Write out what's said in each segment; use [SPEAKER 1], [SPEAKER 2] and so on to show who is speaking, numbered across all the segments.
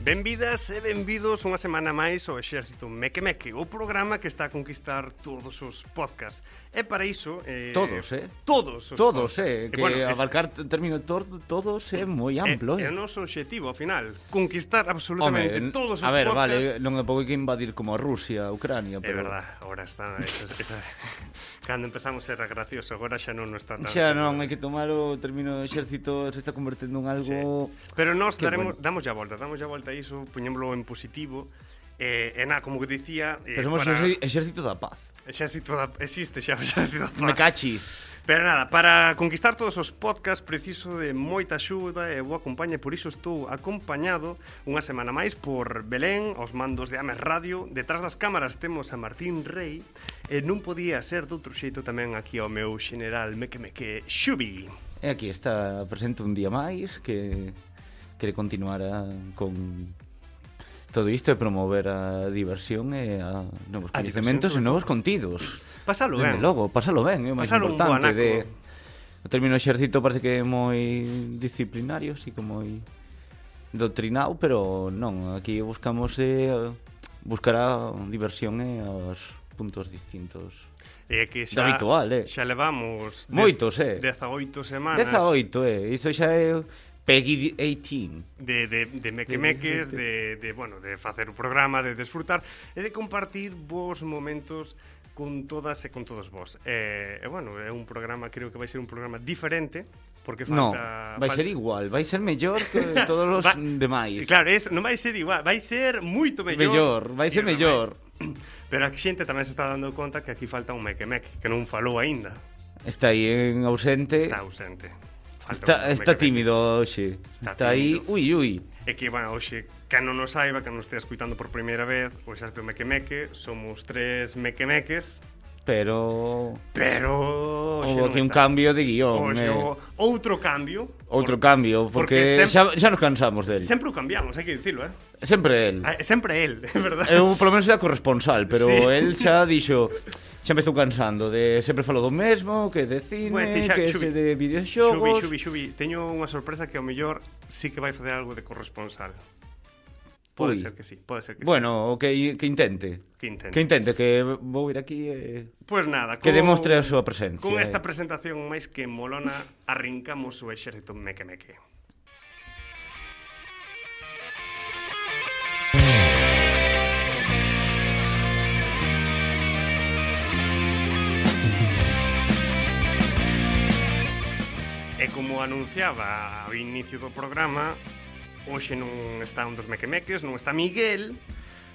[SPEAKER 1] Benvidas e benvidos unha semana máis ao Exército Meque Meque, o programa que está a conquistar todos os podcasts. E para iso... Eh,
[SPEAKER 2] Todos, eh?
[SPEAKER 1] Todos os
[SPEAKER 2] Todos,
[SPEAKER 1] podcasts. E,
[SPEAKER 2] eh, que
[SPEAKER 1] bueno, es-
[SPEAKER 2] abarcar t- término tor- todos é moi amplo,
[SPEAKER 1] É, é
[SPEAKER 2] eh.
[SPEAKER 1] o noso obxectivo, ao final, conquistar absolutamente
[SPEAKER 2] Home,
[SPEAKER 1] todos os
[SPEAKER 2] a ver,
[SPEAKER 1] podcasts.
[SPEAKER 2] vale, non é pouco que invadir como a Rusia, a
[SPEAKER 1] É
[SPEAKER 2] Ucrania, pero
[SPEAKER 1] verdad, ahora está esa, esa, Cando empezamos era gracioso Agora xa non nos está tan
[SPEAKER 2] xa non hai que tomar o término exército se está convertendo en algo
[SPEAKER 1] Pero nós
[SPEAKER 2] Qué
[SPEAKER 1] daremos,
[SPEAKER 2] bueno.
[SPEAKER 1] damos a volta Damos a volta a iso, poñémoslo en positivo eh, E na, como que dicía eh,
[SPEAKER 2] Pero somos
[SPEAKER 1] para...
[SPEAKER 2] exer- exército da paz.
[SPEAKER 1] Exército da... Existe xa o exército da
[SPEAKER 2] Me
[SPEAKER 1] paz.
[SPEAKER 2] cachi.
[SPEAKER 1] Pero nada, para conquistar todos os podcasts preciso de moita axuda e boa compañía, por iso estou acompañado unha semana máis por Belén, aos mandos de Ames Radio, detrás das cámaras temos a Martín Rey, e non podía ser doutro xeito tamén aquí ao meu xeneral Meque Meque Xubi.
[SPEAKER 2] E aquí está presente un día máis que que continuará con todo isto e promover a diversión e a novos
[SPEAKER 1] A
[SPEAKER 2] coñecementos
[SPEAKER 1] diversión, sobre
[SPEAKER 2] e novos contidos.
[SPEAKER 1] Pásalo
[SPEAKER 2] Dende
[SPEAKER 1] ben.
[SPEAKER 2] logo, pásalo ben, é o máis
[SPEAKER 1] Pasalo un bo
[SPEAKER 2] importante
[SPEAKER 1] anaco.
[SPEAKER 2] de o término exército parece que é moi disciplinario, así como moi doutrinado, pero non, aquí buscamos eh, buscar a diversión e aos puntos distintos.
[SPEAKER 1] E que
[SPEAKER 2] Do
[SPEAKER 1] xa,
[SPEAKER 2] habitual, eh.
[SPEAKER 1] xa levamos dez-
[SPEAKER 2] Moitos, eh.
[SPEAKER 1] 18 semanas
[SPEAKER 2] 18, eh, iso xa é Peggy 18.
[SPEAKER 1] de, de, de mequemeques, de, de, bueno, de facer o programa, de desfrutar e de compartir vos momentos con todas e con todos vos. E, e bueno, é un programa, creo que vai ser un programa diferente, porque
[SPEAKER 2] No,
[SPEAKER 1] falta...
[SPEAKER 2] vai
[SPEAKER 1] fal-
[SPEAKER 2] ser igual, vai ser mellor que todos os
[SPEAKER 1] Va-
[SPEAKER 2] demais.
[SPEAKER 1] Claro, es, non vai ser igual, vai ser moito mellor.
[SPEAKER 2] Mellor, vai ser
[SPEAKER 1] Pero
[SPEAKER 2] mellor.
[SPEAKER 1] máis. Pero a xente tamén se está dando conta que aquí falta un mequemeque, que non falou aínda.
[SPEAKER 2] Está aí en ausente.
[SPEAKER 1] Está ausente.
[SPEAKER 2] Eh, Está,
[SPEAKER 1] un mequemeque.
[SPEAKER 2] está tímido hoxe.
[SPEAKER 1] Está
[SPEAKER 2] Está, aí,
[SPEAKER 1] tímido.
[SPEAKER 2] ui, ui.
[SPEAKER 1] E que, bueno, hoxe, que non nos saiba, que non estea escuitando por primeira vez, o Exército Mequemeque, somos tres mequemeques,
[SPEAKER 2] Pero
[SPEAKER 1] pero...
[SPEAKER 2] houve aquí
[SPEAKER 1] non
[SPEAKER 2] un
[SPEAKER 1] está.
[SPEAKER 2] cambio de guión,
[SPEAKER 1] Hoxe,
[SPEAKER 2] eh.
[SPEAKER 1] o- outro cambio.
[SPEAKER 2] Outro cambio, porque,
[SPEAKER 1] porque
[SPEAKER 2] xa, xa nos cansamos del.
[SPEAKER 1] Sempre o cambiamos, hai que dicilo, eh?
[SPEAKER 2] Sempre el.
[SPEAKER 1] Ah, Sempre el, é verdad.
[SPEAKER 2] Eu polo menos era corresponsal, pero
[SPEAKER 1] Sí.
[SPEAKER 2] el xa dixo xa me estou cansando de sempre falo do mesmo, que de cine,
[SPEAKER 1] Bueno, ti xa-
[SPEAKER 2] que
[SPEAKER 1] Xubi,
[SPEAKER 2] se de
[SPEAKER 1] Xubi,
[SPEAKER 2] videoxogos.
[SPEAKER 1] xubi, xubi, teño unha sorpresa que ao mellor sí que vai facer algo de corresponsal. Pode
[SPEAKER 2] Ui.
[SPEAKER 1] ser que sí, pode ser que
[SPEAKER 2] Bueno, o que, que intente.
[SPEAKER 1] sí. Que intente.
[SPEAKER 2] Que intente, que vou ir aquí e...
[SPEAKER 1] Pois nada,
[SPEAKER 2] Que demostre a súa presencia,
[SPEAKER 1] Con esta
[SPEAKER 2] eh.
[SPEAKER 1] presentación máis que molona Arrincamos o exército meque meque E como anunciaba ao inicio do programa Hoxe non está un dos mequemeques, non está Miguel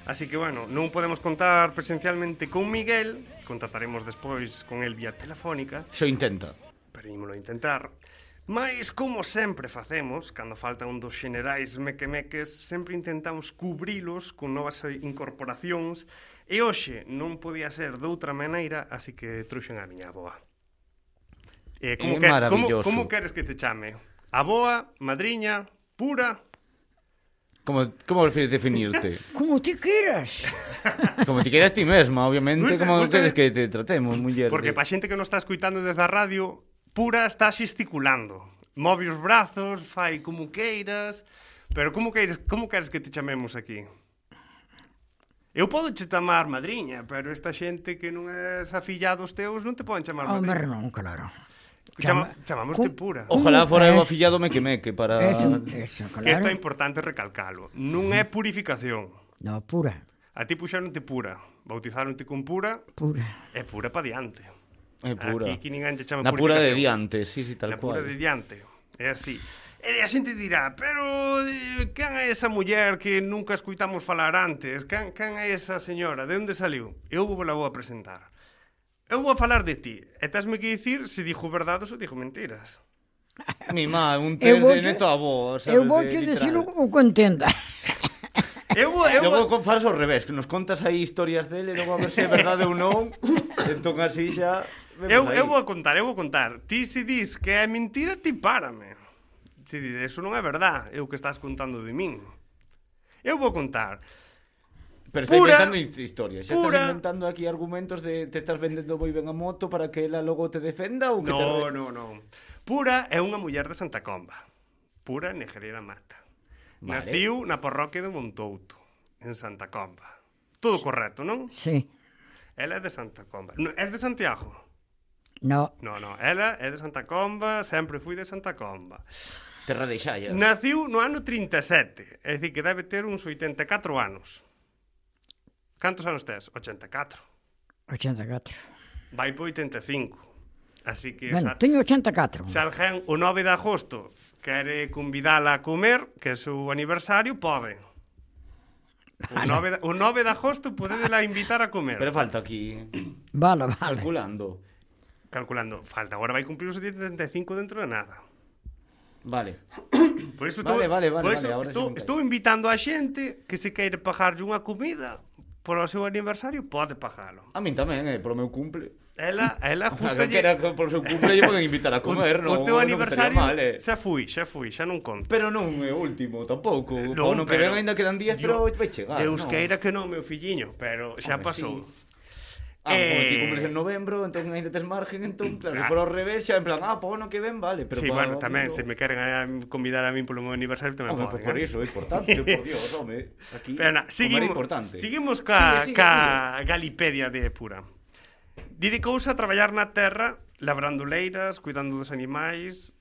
[SPEAKER 1] Así que, bueno, non podemos contar presencialmente con Miguel Contataremos despois con el vía telefónica
[SPEAKER 2] Xo intenta.
[SPEAKER 1] Pero ímolo intentar. Mais, como sempre facemos, cando falta un dos xenerais mequemeques, sempre intentamos cubrilos con novas eh, incorporacións, e hoxe non podía ser doutra maneira, así que truxen a miña aboa. Eh,
[SPEAKER 2] É
[SPEAKER 1] que-
[SPEAKER 2] maravilloso.
[SPEAKER 1] Como, como queres que te chame? A boa, madriña, pura...
[SPEAKER 2] Como, como prefieres definirte?
[SPEAKER 3] Como ti queiras.
[SPEAKER 2] Como te quieras ti mesma, obviamente,
[SPEAKER 1] Gusta-
[SPEAKER 2] como
[SPEAKER 1] gusta-
[SPEAKER 2] queres que te tratemos, muller.
[SPEAKER 1] Porque
[SPEAKER 2] de-
[SPEAKER 1] para xente que non está escuitando desde a radio, pura está xesticulando. Move os brazos, fai como queiras, pero como queres, como queres que te chamemos aquí? Eu podo che chamar madriña, pero esta xente que non é afillada aos teus non te poden chamar
[SPEAKER 3] Hombre,
[SPEAKER 1] madriña.
[SPEAKER 3] non, claro.
[SPEAKER 1] Chama,
[SPEAKER 3] chama-
[SPEAKER 1] chamamoste
[SPEAKER 3] cum-
[SPEAKER 1] pura.
[SPEAKER 3] Oh,
[SPEAKER 2] Ojalá fora eu
[SPEAKER 3] Es-
[SPEAKER 2] afillado meque meque para...
[SPEAKER 3] Eso, eso,
[SPEAKER 1] Que isto é
[SPEAKER 3] claro.
[SPEAKER 1] importante recalcalo. Non é purificación.
[SPEAKER 3] No, pura,
[SPEAKER 1] A ti puxaronte pura, bautizaronte con pura,
[SPEAKER 3] pura.
[SPEAKER 1] é pura pa diante.
[SPEAKER 2] É pura.
[SPEAKER 1] Aquí que ninguén te chama
[SPEAKER 2] Na pura de
[SPEAKER 1] purificación.
[SPEAKER 2] diante, sí, sí, tal
[SPEAKER 1] na pura
[SPEAKER 2] cual.
[SPEAKER 1] de diante. É así. E a xente dirá, pero eh, can é esa muller que nunca escuitamos falar antes? Can, can é esa señora? De onde saliu? Eu vou la vou a presentar. Eu vou a falar de ti. E tasme que dicir se dixo verdades ou dixo mentiras.
[SPEAKER 2] Mi má, un
[SPEAKER 3] Eu
[SPEAKER 2] test de
[SPEAKER 3] voulle-
[SPEAKER 2] neto a vos, sabes,
[SPEAKER 3] Eu vou
[SPEAKER 2] de
[SPEAKER 3] te
[SPEAKER 2] literal.
[SPEAKER 3] dicir o que entenda.
[SPEAKER 1] Eu vou, eu vou...
[SPEAKER 2] Logo co- faz ao revés, que nos contas aí historias dele, logo a ver se é verdade ou non. entón así xa...
[SPEAKER 1] Eu, eu vou contar, eu vou contar. Ti se dis que é mentira, ti párame. Ti dis, eso non é verdad, é o que estás contando de min. Eu vou contar.
[SPEAKER 2] Pero estás
[SPEAKER 1] Pura,
[SPEAKER 2] inventando hist- historias, xa
[SPEAKER 1] pura.
[SPEAKER 2] estás inventando aquí argumentos de te estás vendendo moi ben a moto para que ela logo te defenda ou que te...
[SPEAKER 1] No,
[SPEAKER 2] re-
[SPEAKER 1] no, no. Pura é unha muller de Santa Comba. Pura negrera mata.
[SPEAKER 2] Vale.
[SPEAKER 1] Naciu na parroquia de Montouto, en Santa Comba. Todo correcto, non?
[SPEAKER 3] Sí.
[SPEAKER 1] Ela é de Santa Comba. No, és de Santiago?
[SPEAKER 3] No,
[SPEAKER 1] No, no, ela é de Santa Comba, sempre fui de Santa Comba.
[SPEAKER 2] Terra de xalla.
[SPEAKER 1] Naciu no ano 37, é dicir que debe ter uns 84 anos. Cantos anos tes? 84.
[SPEAKER 3] 84.
[SPEAKER 1] Vai po 85. Así que xa-
[SPEAKER 3] Bueno, teño 84.
[SPEAKER 1] Se alguén o 9 de agosto quere convidala a comer, que é o seu aniversario, pode. O 9 de, o 9 de agosto podedela invitar a comer.
[SPEAKER 2] Ah, Pero falta aquí
[SPEAKER 3] Vale, vale.
[SPEAKER 2] calculando.
[SPEAKER 1] Calculando, falta, agora vai cumplir os 75 dentro de nada.
[SPEAKER 2] Vale.
[SPEAKER 1] Por iso
[SPEAKER 2] Vale,
[SPEAKER 1] estou,
[SPEAKER 2] vale, vale,
[SPEAKER 1] por
[SPEAKER 2] vale,
[SPEAKER 1] iso
[SPEAKER 2] ahora
[SPEAKER 1] estou,
[SPEAKER 2] sí me
[SPEAKER 1] estou invitando a xente que se queire pagarlle unha comida por o seu aniversario, pode pagalo.
[SPEAKER 2] A min tamén, eh, pro meu cumple.
[SPEAKER 1] Ela, ela
[SPEAKER 2] Justo
[SPEAKER 1] justa
[SPEAKER 2] que era co- por seu cumple lle poden invitar a comer, non?
[SPEAKER 1] o teu
[SPEAKER 2] non
[SPEAKER 1] aniversario
[SPEAKER 2] estaría mal, eh.
[SPEAKER 1] xa fui, xa fui, xa non conto.
[SPEAKER 2] Pero non é o último tampouco.
[SPEAKER 1] Eh,
[SPEAKER 2] Non, no que
[SPEAKER 1] pero-
[SPEAKER 2] ven ainda quedan días, pero vai chegar.
[SPEAKER 1] Deus
[SPEAKER 2] non?
[SPEAKER 1] queira que non, meu filliño, pero xa
[SPEAKER 2] Home,
[SPEAKER 1] pasou.
[SPEAKER 2] sí. Ah, eh... como ti
[SPEAKER 1] Eh,
[SPEAKER 2] cumples en novembro, entón ainda tes margen, entón, claro, se
[SPEAKER 1] Ah.
[SPEAKER 2] for ao revés, xa en plan, ah, po ano que ven, vale, pero
[SPEAKER 1] Sí,
[SPEAKER 2] pa-
[SPEAKER 1] bueno, tamén,
[SPEAKER 2] amigo-
[SPEAKER 1] se me queren a convidar a min polo meu aniversario tamén
[SPEAKER 2] Home,
[SPEAKER 1] poden,
[SPEAKER 2] pues por
[SPEAKER 1] eh?
[SPEAKER 2] iso, é importante, por Dios, home. Aquí,
[SPEAKER 1] Pero na,
[SPEAKER 2] comer é
[SPEAKER 1] seguimos,
[SPEAKER 2] importante.
[SPEAKER 1] seguimos ca,
[SPEAKER 2] Sigue, sigue,
[SPEAKER 1] ca Galipedia de Pura. Dedicouse a traballar na terra, labrando leiras, cuidando dos animais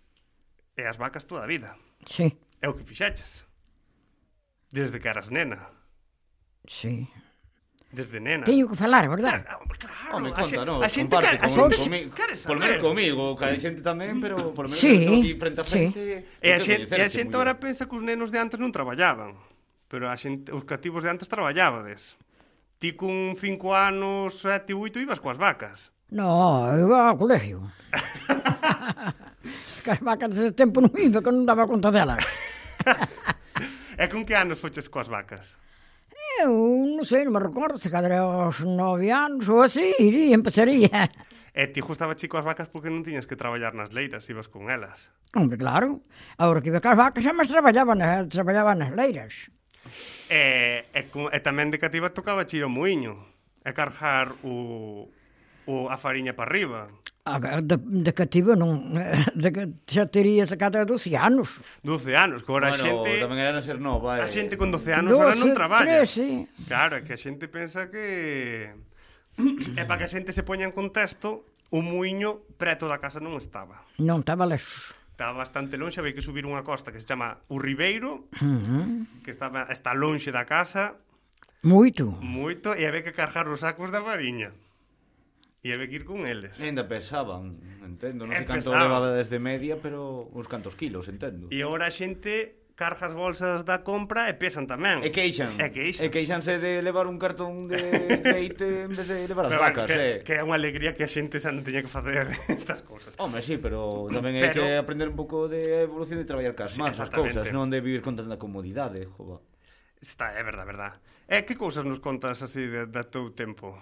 [SPEAKER 1] e as vacas toda a vida.
[SPEAKER 3] Sí,
[SPEAKER 1] É o que fixaches. Desde que eras nena.
[SPEAKER 3] sí.
[SPEAKER 1] Desde nena.
[SPEAKER 3] Teño que falar, verdad?
[SPEAKER 1] Claro, claro.
[SPEAKER 2] Home,
[SPEAKER 1] a xe-
[SPEAKER 2] conta, non,
[SPEAKER 1] a xente
[SPEAKER 2] comparte
[SPEAKER 1] quere- a
[SPEAKER 2] con,
[SPEAKER 1] xente
[SPEAKER 2] comigo,
[SPEAKER 1] quere
[SPEAKER 2] por menos
[SPEAKER 1] saber.
[SPEAKER 2] comigo, ca xente tamén, pero por menos
[SPEAKER 3] Sí,
[SPEAKER 2] que estou aquí frente a
[SPEAKER 3] sí.
[SPEAKER 2] frente.
[SPEAKER 1] E Eh, a
[SPEAKER 2] eu
[SPEAKER 1] xente, e a
[SPEAKER 2] coñecerte
[SPEAKER 1] xente
[SPEAKER 2] moi
[SPEAKER 1] ahora
[SPEAKER 2] ben.
[SPEAKER 1] pensa que os nenos de antes non traballaban. Pero a xente, os cativos de antes traballabades. Ti cun 5 anos, 7, 8 ibas coas vacas.
[SPEAKER 3] No, eu vou ao colegio. que as vacas dese tempo non iba, que non daba conta delas.
[SPEAKER 1] E con que anos foches coas vacas?
[SPEAKER 3] Eu non sei, non me recordo se cadera aos nove anos ou así, iría, empezaría.
[SPEAKER 1] E ti gustaba chico as vacas porque non tiñas que traballar nas leiras, ibas con elas.
[SPEAKER 3] Hombre, claro. Agora que iba cas vacas, xa máis traballaban, eh, traballaban nas leiras.
[SPEAKER 1] E, e, cu- e tamén de cativa tocaba chiro muiño. E carjar o, o a fariña para arriba.
[SPEAKER 3] A- De, de cativo non... De, que xa tería esa cadera 12 anos.
[SPEAKER 1] 12 anos, que agora a
[SPEAKER 2] bueno,
[SPEAKER 1] xente...
[SPEAKER 2] tamén era ser nova, eh.
[SPEAKER 1] A xente con 12 anos agora non
[SPEAKER 3] 12,
[SPEAKER 1] traballa.
[SPEAKER 3] 13.
[SPEAKER 1] Claro, é que a xente pensa que... é para que a xente se poña en contexto, o muiño preto da casa non estaba.
[SPEAKER 3] Non estaba lexo.
[SPEAKER 1] Estaba bastante lonxe, había que subir unha costa que se chama O Ribeiro,
[SPEAKER 3] Uhum.
[SPEAKER 1] que estaba está lonxe da casa,
[SPEAKER 3] Moito.
[SPEAKER 1] moito, e había que cargar os sacos da fariña. E había que ir con eles.
[SPEAKER 2] Ainda pesaban, entendo, non
[SPEAKER 1] Eh,
[SPEAKER 2] sei canto
[SPEAKER 1] pesaban.
[SPEAKER 2] levaba desde media, pero uns cantos kilos, entendo.
[SPEAKER 1] E agora a xente carga as bolsas da compra e pesan tamén.
[SPEAKER 2] E queixan.
[SPEAKER 1] E queixan.
[SPEAKER 2] E queixanse de levar un cartón de leite en vez de levar as
[SPEAKER 1] Pero, bueno,
[SPEAKER 2] vacas,
[SPEAKER 1] que,
[SPEAKER 2] eh.
[SPEAKER 1] que é unha alegría que a xente xa non teña que facer estas cousas.
[SPEAKER 2] Home, sí, pero tamén hai
[SPEAKER 1] Pero-
[SPEAKER 2] que aprender un pouco de evolución de traballar cas
[SPEAKER 1] Sí,
[SPEAKER 2] mans, as
[SPEAKER 1] exactamente.
[SPEAKER 2] cousas, non de vivir con tanta comodidade, jova.
[SPEAKER 1] Está, é verdad, verdad. E que cousas nos contas así de, da teu tempo?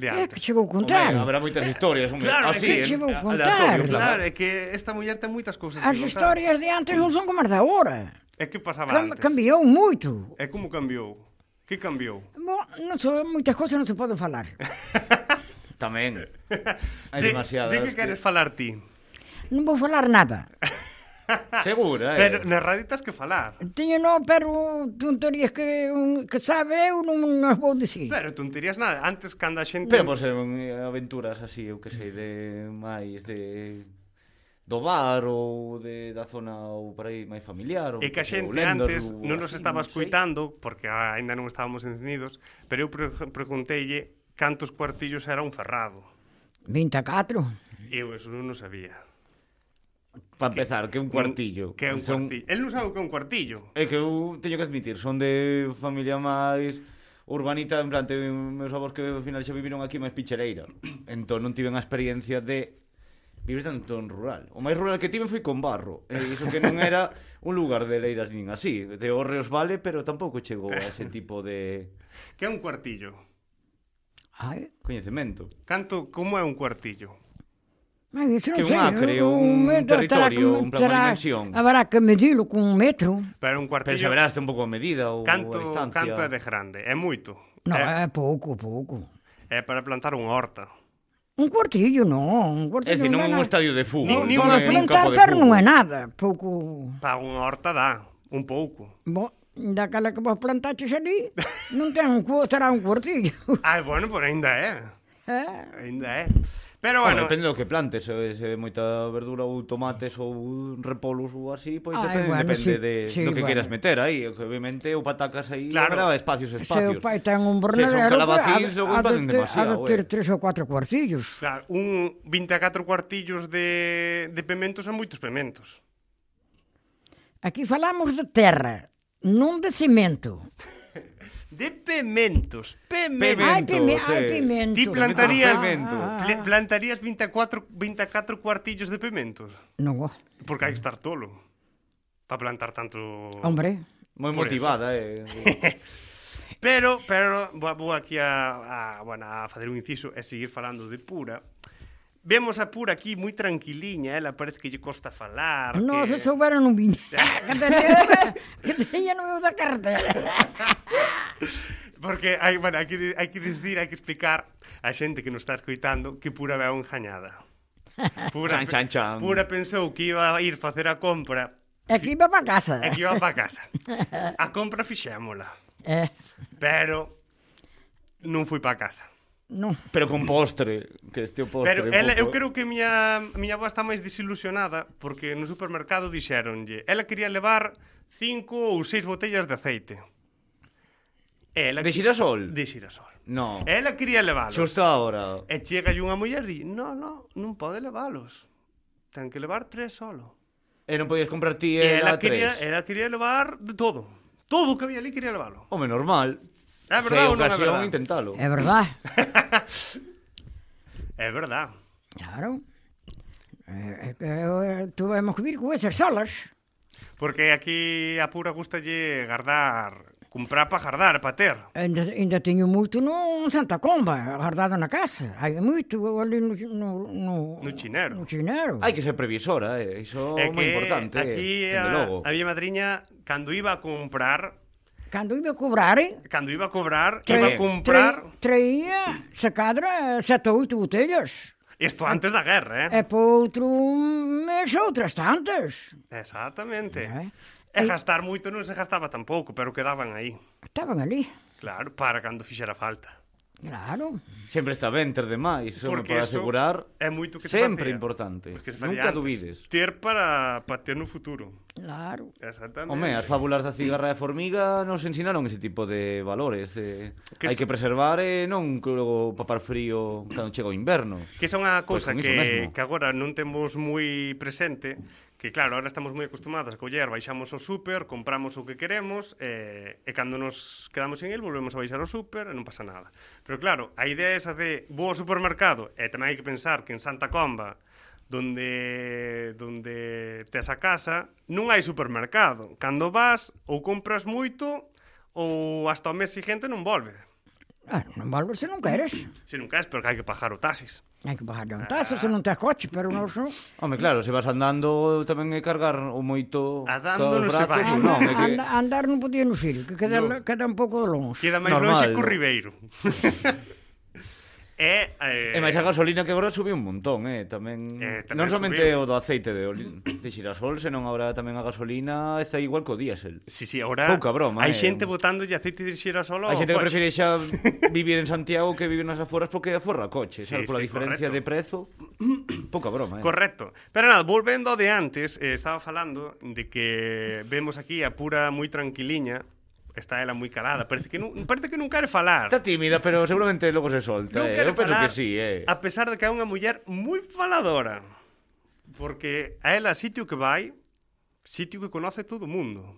[SPEAKER 1] De
[SPEAKER 3] É Eh, que
[SPEAKER 1] antes.
[SPEAKER 3] che vou contar.
[SPEAKER 2] Home, habrá moitas historias, home,
[SPEAKER 1] claro, é
[SPEAKER 2] así,
[SPEAKER 1] que
[SPEAKER 2] en-
[SPEAKER 3] che vou
[SPEAKER 2] aleatorio,
[SPEAKER 3] contar.
[SPEAKER 2] en plan,
[SPEAKER 1] Claro, é que esta muller ten moitas cousas
[SPEAKER 3] As
[SPEAKER 1] que contar.
[SPEAKER 3] historias de antes non son como as da hora.
[SPEAKER 1] É que pasaba
[SPEAKER 3] Cam
[SPEAKER 1] antes.
[SPEAKER 3] cambiou moito.
[SPEAKER 1] É como cambiou? Que cambiou?
[SPEAKER 3] Bo, non so, moitas cousas non se poden falar.
[SPEAKER 2] Tamén. Hai
[SPEAKER 1] De-
[SPEAKER 2] demasiadas.
[SPEAKER 1] De que queres falar ti?
[SPEAKER 3] Non vou falar nada.
[SPEAKER 2] Segura, eh.
[SPEAKER 1] Pero na radio tens que falar.
[SPEAKER 3] Teño non, pero tonterías que, un- que sabe eu non as vou dicir.
[SPEAKER 1] Pero tonterías nada. Antes, cando a xente...
[SPEAKER 2] Pero por ser eh, aventuras así, eu que sei, de máis de do bar ou de da zona ou por aí máis familiar ou
[SPEAKER 1] E que a
[SPEAKER 2] que sei, ou
[SPEAKER 1] xente
[SPEAKER 2] lendas,
[SPEAKER 1] antes
[SPEAKER 2] ou
[SPEAKER 1] non nos
[SPEAKER 2] así,
[SPEAKER 1] estaba
[SPEAKER 2] non sei.
[SPEAKER 1] escuitando, porque aínda non estábamos encendidos, pero eu pre pregunteille cantos cuartillos era un ferrado.
[SPEAKER 3] 24.
[SPEAKER 1] Eu eso non o sabía.
[SPEAKER 2] Para empezar, que é un cuartillo.
[SPEAKER 1] Que é un
[SPEAKER 2] Son-
[SPEAKER 1] cuartillo. El non sabe o que é un cuartillo.
[SPEAKER 2] É que eu teño que admitir, son de familia máis urbanita, en plan, te, meus avós que ao final xa viviron aquí máis pichereira. Entón non tiven a experiencia de vivir tanto en rural. O máis rural que tiven foi con barro. E iso que non era un lugar de leiras nin así. De Orreos vale, pero tampouco chegou a ese tipo de...
[SPEAKER 1] Que é un cuartillo.
[SPEAKER 3] Ai,
[SPEAKER 2] Coñecemento.
[SPEAKER 1] Canto, como é un cuartillo?
[SPEAKER 3] ai, isso não
[SPEAKER 2] Que é um
[SPEAKER 3] sei,
[SPEAKER 2] acre,
[SPEAKER 3] eu-
[SPEAKER 2] um
[SPEAKER 3] metro terá que
[SPEAKER 2] território,
[SPEAKER 3] me-
[SPEAKER 2] um plano de
[SPEAKER 3] terá-
[SPEAKER 2] dimensão.
[SPEAKER 3] Haverá que medi-lo com um metro?
[SPEAKER 1] Pero un
[SPEAKER 2] Pero
[SPEAKER 1] cuartillo...
[SPEAKER 2] saberás un pouco a medida ou a
[SPEAKER 1] Canto,
[SPEAKER 2] distancia.
[SPEAKER 1] canto é de grande, é moito.
[SPEAKER 3] Não,
[SPEAKER 1] é,
[SPEAKER 2] Eh.
[SPEAKER 3] é, pouco, pouco.
[SPEAKER 1] é para plantar unha horta.
[SPEAKER 3] Um quartilho, não. Um
[SPEAKER 2] É
[SPEAKER 3] quartilho
[SPEAKER 2] dicir, Eh non é
[SPEAKER 3] nada.
[SPEAKER 2] un estadio de fútbol,
[SPEAKER 1] Ni- ni
[SPEAKER 2] non
[SPEAKER 1] unha
[SPEAKER 2] é un
[SPEAKER 3] Plantar
[SPEAKER 2] campo de
[SPEAKER 3] perro
[SPEAKER 2] fútbol.
[SPEAKER 3] não é nada. Pouco.
[SPEAKER 1] Para unha horta dá, un pouco.
[SPEAKER 3] Bom, daquela que vos plantaste ali, não tem um, cu- terá um quartilho.
[SPEAKER 1] Ai, Ah, bueno, por ainda é.
[SPEAKER 3] É.
[SPEAKER 1] Ainda é. Pero bueno,
[SPEAKER 2] Bueno, depende do que plantes, se, se é moita verdura ou tomates ou repolos ou así, pois
[SPEAKER 1] Ah,
[SPEAKER 3] Ai,
[SPEAKER 2] depende,
[SPEAKER 3] bueno,
[SPEAKER 2] depende
[SPEAKER 3] sí,
[SPEAKER 2] de,
[SPEAKER 3] sí,
[SPEAKER 2] do que
[SPEAKER 3] bueno.
[SPEAKER 2] queiras meter aí, que obviamente ou patacas aí
[SPEAKER 1] Claro.
[SPEAKER 2] habrá espacios, espacios.
[SPEAKER 3] Seu pai tem
[SPEAKER 2] Se
[SPEAKER 3] um
[SPEAKER 2] son
[SPEAKER 3] bornadeiro,
[SPEAKER 2] calabacíns, logo
[SPEAKER 3] há,
[SPEAKER 2] empaden
[SPEAKER 3] de ter, há
[SPEAKER 2] demasiado,
[SPEAKER 3] de
[SPEAKER 2] eh.
[SPEAKER 3] ter três ou quatro quartilhos.
[SPEAKER 1] claro, un 24 cuartillos de, de pementos son moitos pementos.
[SPEAKER 3] Aqui falamos de terra, não de cimento.
[SPEAKER 1] De pementos, pementos.
[SPEAKER 2] Pemen-
[SPEAKER 3] ai, pime,
[SPEAKER 2] Pimentos,
[SPEAKER 3] ai,
[SPEAKER 2] eh.
[SPEAKER 3] pimento.
[SPEAKER 1] Ti plantarías,
[SPEAKER 2] pimento.
[SPEAKER 3] Ah, ah,
[SPEAKER 1] pla- plantarías 24, 24 cuartillos de pementos?
[SPEAKER 3] Não
[SPEAKER 2] Oh.
[SPEAKER 3] vou.
[SPEAKER 1] Porque hai que estar tolo para plantar tanto...
[SPEAKER 3] Hombre,
[SPEAKER 2] Moi
[SPEAKER 1] Por
[SPEAKER 2] motivada, eh.
[SPEAKER 1] Pero, pero, vou vou aquí a, a, bueno, a facer un inciso e seguir falando de Pura. Vemos a Pura aquí moi tranquiliña, ela parece que lle costa falar.
[SPEAKER 3] não,
[SPEAKER 1] que...
[SPEAKER 3] se souberam não vinha. que teria- que teria no meu da carteira.
[SPEAKER 1] Porque hai, bueno, hai, que, de- hai que dicir, hai que explicar a xente que nos está escoitando que Pura veu enjañada. Pura,
[SPEAKER 2] Chan, chan, chan.
[SPEAKER 1] Pura pensou que iba a ir facer a compra
[SPEAKER 3] É que iba para casa.
[SPEAKER 1] e que iba para casa. A compra fixémola,
[SPEAKER 3] É,
[SPEAKER 1] pero non fui para casa.
[SPEAKER 3] não.
[SPEAKER 2] Pero con postre, que este o postre.
[SPEAKER 1] Pero
[SPEAKER 2] un
[SPEAKER 1] ela,
[SPEAKER 2] pouco,
[SPEAKER 1] eu
[SPEAKER 2] eh.
[SPEAKER 1] creo que a miña, a miña avó está máis desilusionada porque no supermercado dixéronlle ela quería levar cinco ou seis botellas de aceite. E Ela
[SPEAKER 2] De xirasol?
[SPEAKER 1] De xirasol.
[SPEAKER 2] No.
[SPEAKER 1] Ela quería leválos.
[SPEAKER 2] Xusto agora.
[SPEAKER 1] E chega unha muller e di, no, no, non pode leválos. Ten que levar tres solo.
[SPEAKER 2] E non podías comprar ti
[SPEAKER 1] E ela
[SPEAKER 2] era
[SPEAKER 1] quería,
[SPEAKER 2] tres.
[SPEAKER 1] ela quería levar de todo. Todo o que había ali quería leválo.
[SPEAKER 2] Home, normal.
[SPEAKER 1] É
[SPEAKER 2] Se hai
[SPEAKER 1] verdade Ah, ou non é
[SPEAKER 2] ocasión,
[SPEAKER 1] verdade?
[SPEAKER 2] intentalo.
[SPEAKER 3] É verdade.
[SPEAKER 1] É verdade.
[SPEAKER 3] Claro. É, é que eh, tivemos que vir com esas solas.
[SPEAKER 1] Porque aquí a pura gustalle gardar, comprar para gardar, para ter.
[SPEAKER 3] Ainda, ainda tenho muito no um Santa Comba, guardado na casa. Hai muito ali no... No, no,
[SPEAKER 1] No chinero.
[SPEAKER 3] No chinero.
[SPEAKER 2] Hai que ser previsora, eh. Iso é
[SPEAKER 1] É
[SPEAKER 2] moi importante.
[SPEAKER 1] aquí
[SPEAKER 2] eh, dende
[SPEAKER 1] a,
[SPEAKER 2] logo.
[SPEAKER 1] a miña madriña, cando iba a comprar,
[SPEAKER 3] Cando iba a cobrar, eh,
[SPEAKER 1] cando iba a cobrar,
[SPEAKER 2] Que
[SPEAKER 1] iba a
[SPEAKER 2] ben.
[SPEAKER 1] comprar,
[SPEAKER 3] traía, se cadra, sete ou oito botelhas.
[SPEAKER 1] isto antes da guerra, eh?
[SPEAKER 3] É para outro mês outras tantas.
[SPEAKER 1] Exactamente.
[SPEAKER 2] É.
[SPEAKER 1] E
[SPEAKER 3] Eh?
[SPEAKER 1] gastar moito non se gastaba tampouco, pero quedaban aí.
[SPEAKER 3] Estaban ali,
[SPEAKER 1] Claro, para cando fixera falta.
[SPEAKER 3] claro.
[SPEAKER 2] Sempre está ben ter demais, home,
[SPEAKER 1] Porque
[SPEAKER 2] para
[SPEAKER 1] eso
[SPEAKER 2] asegurar.
[SPEAKER 1] é moito que se
[SPEAKER 2] sempre
[SPEAKER 1] facía.
[SPEAKER 2] importante.
[SPEAKER 1] Porque se facía
[SPEAKER 2] Eh, Nunca
[SPEAKER 1] antes.
[SPEAKER 2] dubides.
[SPEAKER 1] Ter para, para ter no futuro.
[SPEAKER 3] Claro.
[SPEAKER 1] Exactamente.
[SPEAKER 2] Home, as fábulas da cigarra e a formiga nos ensinaron ese tipo de valores. De...
[SPEAKER 1] Que
[SPEAKER 2] Hai
[SPEAKER 1] se-
[SPEAKER 2] que preservar eh, e non que logo papar frío cando chega o inverno.
[SPEAKER 1] Que esa é unha cousa
[SPEAKER 2] Pois con iso
[SPEAKER 1] que,
[SPEAKER 2] mesmo.
[SPEAKER 1] que agora non temos moi presente Que claro, agora estamos moi acostumados a coller Baixamos ao súper, compramos o que queremos eh, E cando nos quedamos en el Volvemos a baixar ao súper e non pasa nada Pero claro, a idea esa de vou ao supermercado E tamén hai que pensar que en Santa Comba Donde, donde tes a casa Non hai supermercado Cando vas ou compras moito Ou hasta o mes seguinte non volve
[SPEAKER 3] Ah, non vale se non queres.
[SPEAKER 1] Se non queres, pero que hai que pagar o taxis
[SPEAKER 3] Hai que bajar de un tazo se non tes coche, pero non son...
[SPEAKER 2] Home, claro, se vas andando tamén é cargar o moito
[SPEAKER 1] Andando non se
[SPEAKER 2] cos
[SPEAKER 1] vai.
[SPEAKER 2] brazos, ou non, é que...
[SPEAKER 3] Anda, andar non podía no filho, que queda,
[SPEAKER 1] No.
[SPEAKER 3] queda un pouco longe.
[SPEAKER 1] Queda máis
[SPEAKER 2] Normal.
[SPEAKER 1] lonxe que o Ribeiro. é, eh,
[SPEAKER 2] E máis a gasolina que agora subiu un montón, eh, tamén,
[SPEAKER 1] Eh, tamén
[SPEAKER 2] non somente
[SPEAKER 1] subiu.
[SPEAKER 2] o do aceite de, oli- de xirasol, senón agora tamén a gasolina está igual co diésel.
[SPEAKER 1] Sí, sí, ahora
[SPEAKER 2] Pouca broma,
[SPEAKER 1] hai
[SPEAKER 2] eh.
[SPEAKER 1] xente botándolle aceite de xirasol ao
[SPEAKER 2] Hai xente que
[SPEAKER 1] coche.
[SPEAKER 2] prefire xa vivir en Santiago que vivir nas aforas porque aforra
[SPEAKER 1] Sí,
[SPEAKER 2] coche, sí, sabes, pola
[SPEAKER 1] sí,
[SPEAKER 2] diferencia
[SPEAKER 1] correcto.
[SPEAKER 2] de prezo, pouca broma, eh.
[SPEAKER 1] Correcto. Pero nada, volvendo ao de antes, eh, estaba falando de que vemos aquí a pura moi tranquiliña, está ela moi calada, parece que non, parece que non quere falar.
[SPEAKER 2] Está tímida, pero seguramente logo se
[SPEAKER 1] Non
[SPEAKER 2] solta, eh.
[SPEAKER 1] quere
[SPEAKER 2] Eu penso
[SPEAKER 1] falar,
[SPEAKER 2] que sí, eh.
[SPEAKER 1] A pesar de que é unha muller moi faladora. Porque a ela sitio que vai, sitio que conoce todo o mundo.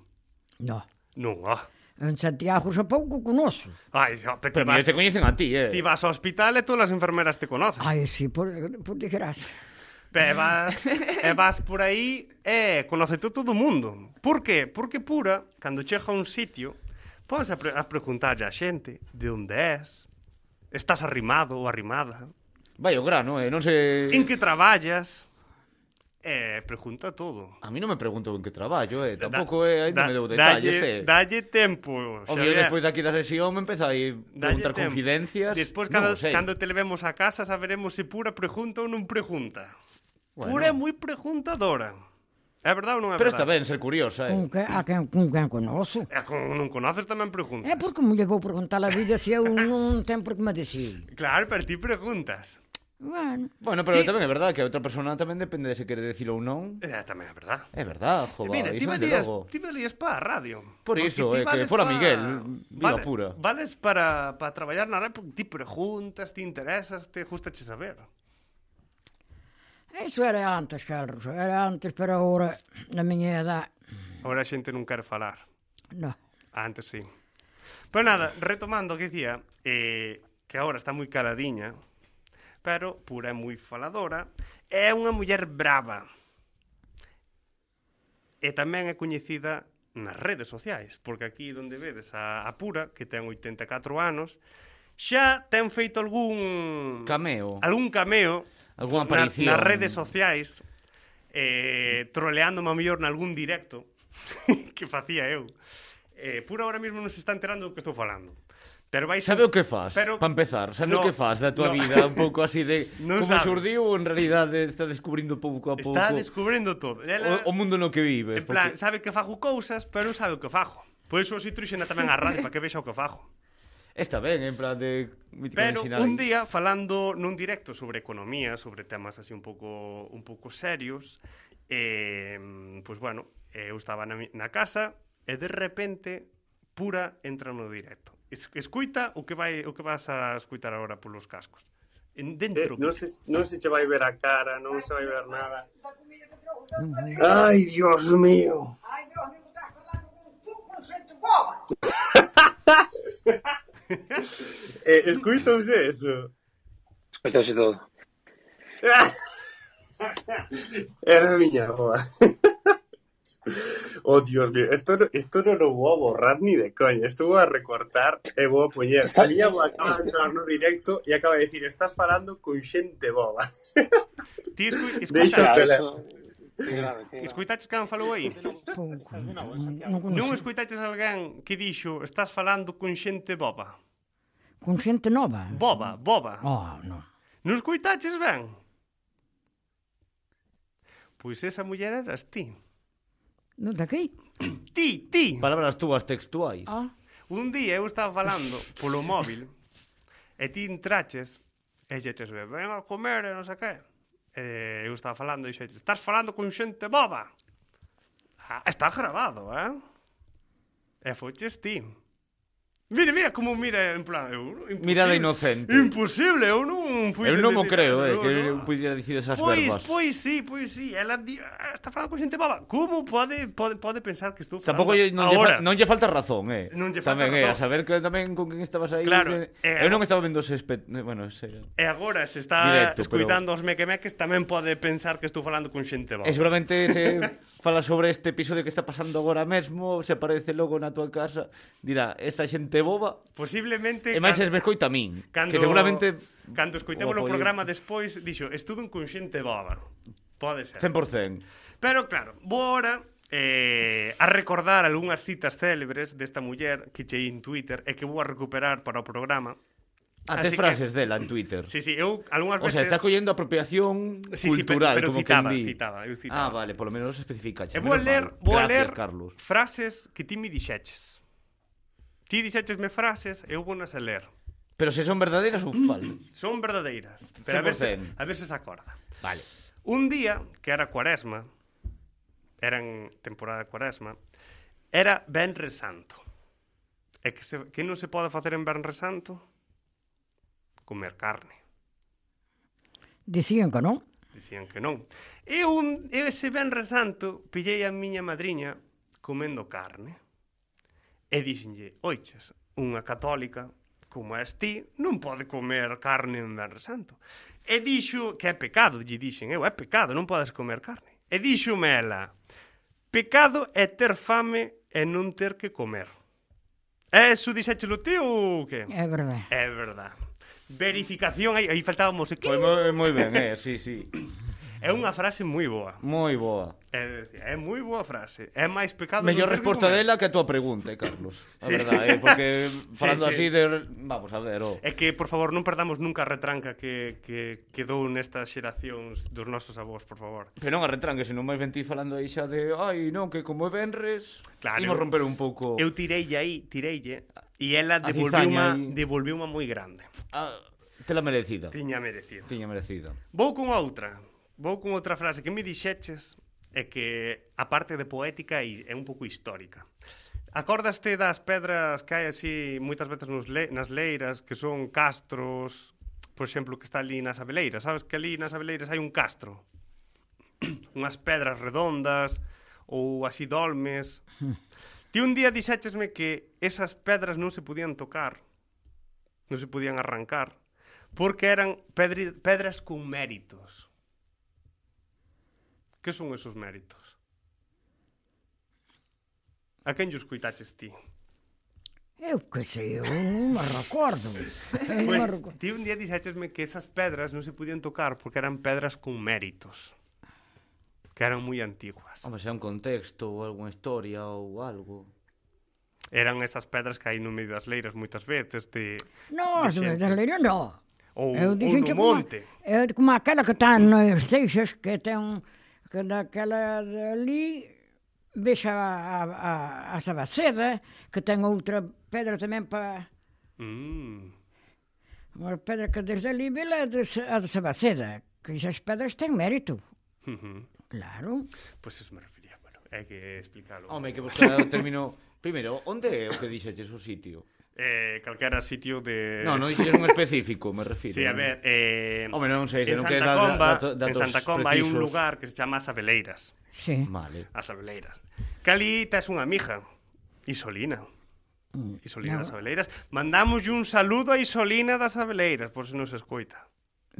[SPEAKER 3] No.
[SPEAKER 1] Non, ah.
[SPEAKER 3] En Santiago xa pouco conozo.
[SPEAKER 1] Ai, xa, pe- te
[SPEAKER 2] Pero mira,
[SPEAKER 1] vas,
[SPEAKER 2] te coñecen a ti, eh.
[SPEAKER 1] ti vas ao hospital e todas as enfermeras te conocen.
[SPEAKER 3] Ai, si, por, por desgracia.
[SPEAKER 1] E vas, e vas por aí e conocete todo o mundo. Por qué? Porque pura, cando chega a un sitio, ponse a, pre a preguntarlle a xente de onde és, Estás arrimado ou arrimada?
[SPEAKER 2] Vai o grano, eh? non se...
[SPEAKER 1] En que traballas? Eh, pregunta todo.
[SPEAKER 2] A mí non me preguntou en que traballo, eh?
[SPEAKER 1] Da-
[SPEAKER 2] Tampouco, eh?
[SPEAKER 1] da-
[SPEAKER 2] Ainda me deu
[SPEAKER 1] dalle-
[SPEAKER 2] detalles, eh?
[SPEAKER 1] Dalle tempo.
[SPEAKER 2] O mío,
[SPEAKER 1] Xavier.
[SPEAKER 2] despois daqui da sesión, me empeza a ir
[SPEAKER 1] Dalle
[SPEAKER 2] preguntar
[SPEAKER 1] tempo.
[SPEAKER 2] confidencias.
[SPEAKER 1] Despois,
[SPEAKER 2] Non
[SPEAKER 1] cando,
[SPEAKER 2] o sei.
[SPEAKER 1] cando te levemos a casa, saberemos se Pura pregunta ou non pregunta.
[SPEAKER 2] Bueno.
[SPEAKER 1] Pura é moi preguntadora. É verdade ou non é
[SPEAKER 2] Pero está
[SPEAKER 1] verdade?
[SPEAKER 2] ben ser curiosa, eh?
[SPEAKER 3] Con que, a quen, con quen conozo.
[SPEAKER 1] E como non conoces tamén preguntas.
[SPEAKER 3] É porque me llegou a preguntar a vida se eu non ten por que me decir.
[SPEAKER 1] Claro, pero ti preguntas.
[SPEAKER 3] Bueno,
[SPEAKER 2] Bueno, pero
[SPEAKER 1] Ti-
[SPEAKER 2] tamén é verdade que a outra persona tamén depende de se quere decilo ou non.
[SPEAKER 1] É tamén é verdade.
[SPEAKER 2] É verdade,
[SPEAKER 1] Eh,
[SPEAKER 2] jova,
[SPEAKER 1] Mira, ti
[SPEAKER 2] iso é
[SPEAKER 1] valías,
[SPEAKER 2] logo.
[SPEAKER 1] ti valías para a radio.
[SPEAKER 2] Por
[SPEAKER 1] Porque
[SPEAKER 2] iso,
[SPEAKER 1] ti
[SPEAKER 2] eh, que
[SPEAKER 1] vales
[SPEAKER 2] fora
[SPEAKER 1] pa-
[SPEAKER 2] Miguel, viva
[SPEAKER 1] vale-
[SPEAKER 2] pura.
[SPEAKER 1] Vales para, para traballar na radio porque ti preguntas, ti interesas, te gusta che saber.
[SPEAKER 3] Isso era antes, Carlos. Era antes, pero agora, na miña edade,
[SPEAKER 1] Ahora a xente non quer falar.
[SPEAKER 3] non.
[SPEAKER 1] Ah, Antes sí. Pero nada, retomando o que dicía, eh, que agora está moi caladiña, pero pura é moi faladora, é unha muller brava. E tamén é coñecida nas redes sociais, porque aquí onde vedes a, a Pura, que ten 84 anos, xa ten feito algún...
[SPEAKER 2] Cameo.
[SPEAKER 1] Algún cameo na-
[SPEAKER 2] Algunha aparición.
[SPEAKER 1] nas redes sociais, eh, troleándome a mellor nalgún directo que facía eu. Eh, pura ahora mesmo non se está enterando do que estou falando. Pero vai
[SPEAKER 2] Sabe o que fas?
[SPEAKER 1] Pero-
[SPEAKER 2] Para empezar, sabe
[SPEAKER 1] No,
[SPEAKER 2] o que fas da tua
[SPEAKER 1] no.
[SPEAKER 2] vida? Un pouco así de
[SPEAKER 1] Non
[SPEAKER 2] como
[SPEAKER 1] sabe.
[SPEAKER 2] surdiu ou en realidade está descubrindo pouco a pouco
[SPEAKER 1] está descubrindo todo. Ela,
[SPEAKER 2] o, o mundo no que vives?
[SPEAKER 1] en plan,
[SPEAKER 2] porque...
[SPEAKER 1] sabe que fago cousas, pero non sabe o que fago. Por iso si truxena tamén a radio para que vexa o que fago.
[SPEAKER 2] Está ben, en plan de... mítica
[SPEAKER 1] Pero
[SPEAKER 2] ensinar
[SPEAKER 1] un
[SPEAKER 2] aí.
[SPEAKER 1] día falando nun directo sobre economía, sobre temas así un pouco un pouco serios, eh, pois pues bueno, eu estaba na, mi- na casa e de repente pura entra no directo. Es, escuita o que vai o que vas a escuitar agora polos cascos. En
[SPEAKER 4] Eh,
[SPEAKER 1] dentro.
[SPEAKER 4] non, se, non se che vai ver a cara, non se vai ver nada. Ai, Dios mío.
[SPEAKER 5] Ai, Deus, amigo, tá falando com tu, com jeito boba.
[SPEAKER 4] Eh, escuitouse eso?
[SPEAKER 6] Escoitouse todo.
[SPEAKER 4] Era a miña boa. Oh, Dios mío, esto, no- esto non o vou a borrar ni de coña Esto vou a recortar e vou a poñer Está...
[SPEAKER 6] Está-
[SPEAKER 4] Lía acaba de entrar no directo e acaba de decir Estás falando con xente boba
[SPEAKER 1] Ti escu, escuita,
[SPEAKER 4] Deixa o tele-
[SPEAKER 1] escuitaches can falou aí?
[SPEAKER 3] Pouco. Non
[SPEAKER 1] Non
[SPEAKER 3] conocí.
[SPEAKER 1] escuitaches alguén que dixo estás falando con xente boba?
[SPEAKER 3] Con xente nova.
[SPEAKER 1] Boba, boba.
[SPEAKER 3] Oh, non.
[SPEAKER 1] Non escoitaches ben? Pois esa muller eras ti.
[SPEAKER 3] Non daqui?
[SPEAKER 1] Ti, ti.
[SPEAKER 2] Palabras túas textuais.
[SPEAKER 3] Ah,
[SPEAKER 1] Un día eu estaba falando polo móvil e ti entraches e xeches ben, ven a comer e non sei que. E eu estaba falando e xeches, estás falando con xente boba. Ah, está grabado, eh? E foches ti. Mira, mira como mira, en plan, eu, imposible.
[SPEAKER 2] Mirada inocente.
[SPEAKER 1] Imposible, eu non fui...
[SPEAKER 2] Eu non mo
[SPEAKER 1] de- de-
[SPEAKER 2] creo,
[SPEAKER 1] no,
[SPEAKER 2] eh, que
[SPEAKER 1] no.
[SPEAKER 2] eu pudiera dicir esas
[SPEAKER 1] Pois,
[SPEAKER 2] verbas.
[SPEAKER 1] pois sí, pois sí. Ela di, "Ah, está falando con xente baba. Como pode pode pode pensar que estou falando?
[SPEAKER 2] Tampouco lle, non, lle
[SPEAKER 1] agora?
[SPEAKER 2] fa, non lle falta razón, eh.
[SPEAKER 1] Non lle
[SPEAKER 2] tamén,
[SPEAKER 1] falta
[SPEAKER 2] eh, a
[SPEAKER 1] razón.
[SPEAKER 2] saber que tamén con quen estabas aí.
[SPEAKER 1] Claro,
[SPEAKER 2] que-
[SPEAKER 1] eh,
[SPEAKER 2] eu non estaba vendo ese... Espe... eh, Bueno, ese...
[SPEAKER 1] E agora se está
[SPEAKER 2] Directo,
[SPEAKER 1] escuitando os mequemeques tamén pode pensar que estou falando con xente baba.
[SPEAKER 2] E seguramente se fala sobre este episodio que está pasando agora mesmo, se aparece logo na tua casa, dirá, esta xente boba,
[SPEAKER 1] Posiblemente
[SPEAKER 2] e máis
[SPEAKER 1] Eh, can-
[SPEAKER 2] es escoita a min.
[SPEAKER 1] cando
[SPEAKER 2] Que seguramente...
[SPEAKER 1] cando escoitemos o
[SPEAKER 2] apoio-
[SPEAKER 1] programa despois dixo, estuve con xente baba. Pode ser.
[SPEAKER 2] 100%.
[SPEAKER 1] Pero claro, vou ahora eh, a recordar algunhas citas célebres desta muller que chei en Twitter e que vou a recuperar para o programa.
[SPEAKER 2] Até
[SPEAKER 1] Así que-
[SPEAKER 2] frases dela en Twitter.
[SPEAKER 1] Sí, sí, eu algunhas
[SPEAKER 2] O
[SPEAKER 1] veces...
[SPEAKER 2] sea, estás collendo apropiación
[SPEAKER 1] Sí, sí,
[SPEAKER 2] cultural,
[SPEAKER 1] pero- pero
[SPEAKER 2] como
[SPEAKER 1] citaba,
[SPEAKER 2] que
[SPEAKER 1] citaba, eu citaba.
[SPEAKER 2] Ah, vale, polo menos especificaxe.
[SPEAKER 1] E vou Eh, a
[SPEAKER 2] menos
[SPEAKER 1] ler,
[SPEAKER 2] mal.
[SPEAKER 1] vou a
[SPEAKER 2] Gracias,
[SPEAKER 1] ler
[SPEAKER 2] Carlos.
[SPEAKER 1] frases que ti me dixeches. Ti dixechesme frases, eu vou nas a ler.
[SPEAKER 2] Pero se son verdadeiras ou falsas.
[SPEAKER 1] Son verdadeiras, pero a ver se,
[SPEAKER 2] 100%.
[SPEAKER 1] a ver se se acorda.
[SPEAKER 2] Vale.
[SPEAKER 1] Un día, que era cuaresma, era en temporada de cuaresma, era Benre Santo. E que, se, que non se pode facer en Benre Santo? Comer carne.
[SPEAKER 3] dicían que non.
[SPEAKER 1] Dicían que non. E un e ese Benre Santo pillei a miña madriña comendo carne. E dixenlle, oiches, unha católica como és ti, non pode comer carne en Benre Santo. E dixo que é pecado, lle dixen, eu, é pecado, non podes comer carne. E díxome ela, pecado é ter fame e non ter que comer. E iso dixéchelo ti ou que?
[SPEAKER 3] É verdade.
[SPEAKER 1] É verdade. Verificación, aí, aí faltábamos
[SPEAKER 2] Foi
[SPEAKER 1] aquí.
[SPEAKER 2] moi, moi ben, eh, sí, sí.
[SPEAKER 1] É unha frase moi boa.
[SPEAKER 2] Moi boa.
[SPEAKER 1] É, é moi boa frase. É máis pecado...
[SPEAKER 2] Mellor
[SPEAKER 1] non ter
[SPEAKER 2] resposta
[SPEAKER 1] ninguna.
[SPEAKER 2] dela que a tua pregunta, eh, Carlos. A
[SPEAKER 1] Sí.
[SPEAKER 2] verdade, eh, porque falando
[SPEAKER 1] Sí, sí.
[SPEAKER 2] así de... Vamos a ver, oh.
[SPEAKER 1] É que, por favor, non perdamos nunca a retranca que, que, que dou nestas xeracións dos nosos avós, por favor.
[SPEAKER 2] Que non a retranque, senón máis ben ti falando aí xa de Ai, non, que como é Benres
[SPEAKER 1] Claro.
[SPEAKER 2] Imos romper un pouco
[SPEAKER 1] Eu tireille aí, tireille, e ela
[SPEAKER 2] A
[SPEAKER 1] devolveu unha,
[SPEAKER 2] cizaña aí.
[SPEAKER 1] devolveu unha moi grande.
[SPEAKER 2] a... Ah, Tela merecida
[SPEAKER 1] Tiña merecido.
[SPEAKER 2] Tiña merecida
[SPEAKER 1] Vou con outra. Vou con outra frase que me dixeches é que a parte de poética é é un pouco histórica. Acordaste das pedras que hai así moitas veces nos le, nas leiras que son castros, por exemplo, que está ali nas abeleiras. Sabes que ali nas abeleiras hai un castro. Unhas pedras redondas ou así dolmes. Ti un día dixéchesme que esas pedras non se podían tocar, non se podían arrancar, porque eran pedri, pedras con méritos. Que son esos méritos? A quen llos coitaches ti?
[SPEAKER 3] Eu que sei, eu non me recordo. Eu non me
[SPEAKER 1] Pois,
[SPEAKER 3] recordo.
[SPEAKER 1] ti un día dixéchesme que esas pedras non se podían tocar porque eran pedras con méritos. Que eran moi antiguas.
[SPEAKER 2] Home, xa un contexto ou algunha historia ou algo
[SPEAKER 1] Eran esas pedras que hai no medio das leiras moitas veces de
[SPEAKER 3] Non,
[SPEAKER 1] de xente.
[SPEAKER 3] de leiro non.
[SPEAKER 1] ou,
[SPEAKER 3] Eu
[SPEAKER 1] ou
[SPEAKER 3] dixen
[SPEAKER 1] no
[SPEAKER 3] que
[SPEAKER 1] monte.
[SPEAKER 3] Como, eu, como aquela que está nos seixas, que ten un, que daquela ali vexa a, a, a Sabaceda, que ten outra pedra tamén para...
[SPEAKER 1] Mm.
[SPEAKER 3] Unha pedra que desde ali vela de, Sa- a de Sabaceda, que esas pedras ten mérito.
[SPEAKER 1] Ujú.
[SPEAKER 3] Claro.
[SPEAKER 1] Pois eso me refería, bueno, hai que explicalo.
[SPEAKER 2] Home, que vos o término Primeiro, onde é o que dixetes o sitio?
[SPEAKER 1] eh, calquera sitio de...
[SPEAKER 2] Non, non dixetes un específico, me refiro
[SPEAKER 1] Eh. Sí, a ver, eh,
[SPEAKER 2] Home, non sei,
[SPEAKER 1] en
[SPEAKER 2] senón que
[SPEAKER 1] Santa
[SPEAKER 2] da- da-
[SPEAKER 1] Comba,
[SPEAKER 2] dato-
[SPEAKER 1] en
[SPEAKER 2] datos
[SPEAKER 1] Santa Comba hai un
[SPEAKER 2] precisos.
[SPEAKER 1] lugar que se chama As Abeleiras.
[SPEAKER 3] Sí.
[SPEAKER 2] Vale
[SPEAKER 1] As Abeleiras. Cali tes unha mija, Isolina.
[SPEAKER 2] Mm.
[SPEAKER 1] Isolina das Abeleiras. Mandamos un saludo a Isolina das Abeleiras, por se nos escoita.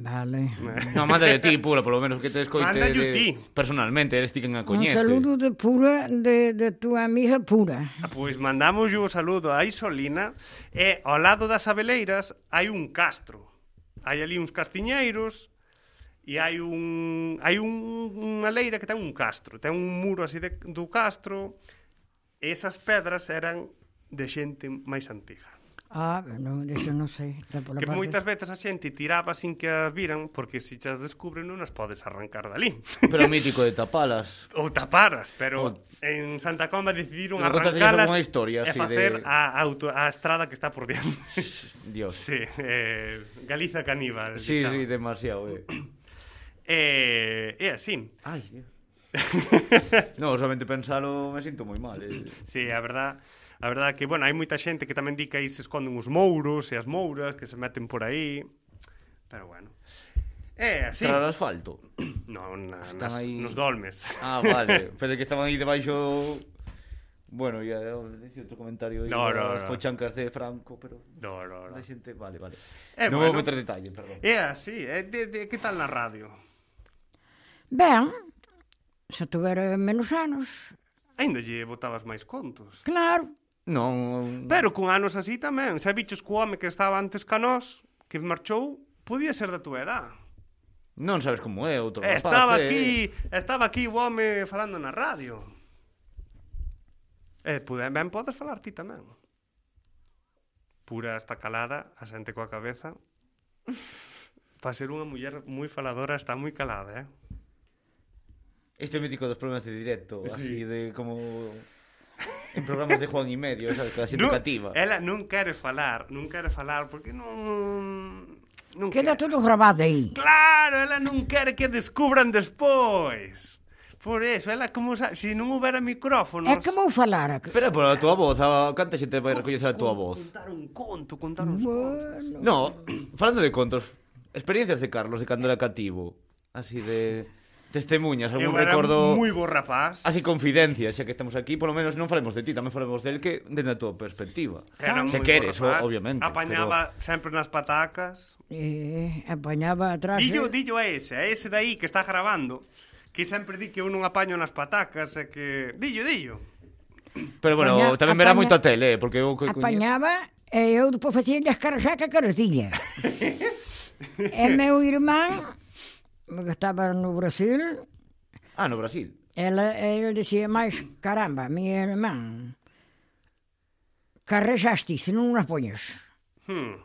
[SPEAKER 3] Vale.
[SPEAKER 2] Non, manda de ti, pura, polo menos que te escoite
[SPEAKER 1] Mándalle
[SPEAKER 2] de...
[SPEAKER 1] Eh. ti.
[SPEAKER 2] Personalmente, eres ti quen a
[SPEAKER 3] Un
[SPEAKER 2] coñece
[SPEAKER 3] saludo de pura, de, de tua amiga pura.
[SPEAKER 1] Ah, Pois mandamos un saludo a Isolina e ao lado das Abeleiras hai un castro. Hai ali uns castiñeiros e hai un hai un, unha leira que ten un castro, ten un muro así de, do castro. Esas pedras eran de xente máis antiga.
[SPEAKER 3] Ah, non, disso non sei. Está pola
[SPEAKER 1] Que
[SPEAKER 3] parte-
[SPEAKER 1] moitas veces a xente tiraba sin que as viran porque se chas descubren non as podes arrancar dali.
[SPEAKER 2] Pero mítico de tapalas
[SPEAKER 1] Ou taparas, pero
[SPEAKER 2] O-
[SPEAKER 1] en Santa Comba decidiron
[SPEAKER 2] Pero contaste
[SPEAKER 1] arrancalas
[SPEAKER 2] algunha historia
[SPEAKER 1] e
[SPEAKER 2] así
[SPEAKER 1] facer
[SPEAKER 2] de-
[SPEAKER 1] a, auto, a estrada que está por diante.
[SPEAKER 2] Dios
[SPEAKER 1] Sí, eh, Galiza caníbal.
[SPEAKER 2] Sí,
[SPEAKER 1] chama.
[SPEAKER 2] sí, demasiado, eh
[SPEAKER 1] Eh, é así.
[SPEAKER 2] Ai, Dios. no, solamente pensalo me sinto moi mal. Eh.
[SPEAKER 1] Sí, a verdad, a verdad que, bueno, hai moita xente que tamén di que aí se esconden os mouros e as mouras que se meten por aí. Pero bueno. É así.
[SPEAKER 2] Sí. Tras asfalto.
[SPEAKER 1] No, na,
[SPEAKER 2] Están
[SPEAKER 1] nas,
[SPEAKER 2] aí-
[SPEAKER 1] nos dolmes.
[SPEAKER 2] Ah, vale. Pero que estaban aí debaixo... Bueno, ya dice outro comentario aí
[SPEAKER 1] No, no,
[SPEAKER 2] das
[SPEAKER 1] no.
[SPEAKER 2] pochancas de Franco, pero
[SPEAKER 1] No, no, no.
[SPEAKER 2] da xente, vale, vale.
[SPEAKER 1] Eh,
[SPEAKER 2] non
[SPEAKER 1] bueno. Eh.
[SPEAKER 2] vou meter detalle, perdón.
[SPEAKER 1] É así, é de, de, que tal na radio?
[SPEAKER 3] Ben, se tuvera menos anos,
[SPEAKER 1] Ainda lle botabas máis contos.
[SPEAKER 3] claro.
[SPEAKER 2] Non,
[SPEAKER 1] Pero con anos así tamén, se bichos co home que estaba antes ca nós, que marchou, podía ser da tua edad.
[SPEAKER 2] non sabes como é outro
[SPEAKER 1] Eh,
[SPEAKER 2] rapaz.
[SPEAKER 1] Estaba
[SPEAKER 2] eh.
[SPEAKER 1] aquí, estaba aquí o home falando na radio. Eh, pude, ben podes falar ti tamén. Pura esta calada, a xente coa cabeza. Para ser unha muller moi faladora está moi calada, eh?
[SPEAKER 2] Este mítico dos programas de directo, sí. así de como... En programas de Juan y Medio, sabes, que a xente
[SPEAKER 1] Non-
[SPEAKER 2] cativa.
[SPEAKER 1] Ela non quere falar, non quere falar porque non non
[SPEAKER 3] Queda
[SPEAKER 1] quere.
[SPEAKER 3] todo grabado aí.
[SPEAKER 1] Claro, ela non quere que descubran despois. Por eso, ela como sa... se non houbera micrófonos.
[SPEAKER 3] É como eu falara. que-
[SPEAKER 2] Espera, por a tua voz, a canta xente vai recoñecer a tua voz?
[SPEAKER 1] Contar un conto, contar uns contos.
[SPEAKER 3] Bueno,
[SPEAKER 2] No, falando de contos, experiencias de Carlos de cando era cativo, así de testemunhas, algún
[SPEAKER 1] Eu era
[SPEAKER 2] recordo Ah,
[SPEAKER 1] moi bo rapaz.
[SPEAKER 2] así confidencias, xa que estamos aquí, polo menos non falemos de ti, tamén falemos del que dende a tua perspectiva.
[SPEAKER 1] Era moi bo
[SPEAKER 2] Se queres, o-
[SPEAKER 1] rapaz.
[SPEAKER 2] obviamente,
[SPEAKER 1] Apañaba pero... sempre nas patacas.
[SPEAKER 3] E eh, apañaba atrás...
[SPEAKER 1] Dillo,
[SPEAKER 3] eh,
[SPEAKER 1] dillo a ese, a ese daí que está grabando, que sempre di que eu non apaño nas patacas, e que... Dillo, dillo.
[SPEAKER 2] Pero bueno,
[SPEAKER 3] Apaña-
[SPEAKER 2] tamén verá
[SPEAKER 3] apaña-
[SPEAKER 2] moito a tele, eh, porque eu que coñe-
[SPEAKER 3] apañaba E eu depois facía-lhe as carraxacas que elas tiña. e meu irmão, que estaba no Brasil,
[SPEAKER 2] Ah, no Brasil.
[SPEAKER 3] ela, ele dizia, mas caramba, minha irmã, carrejaste se não as ponhas.
[SPEAKER 1] Hmm.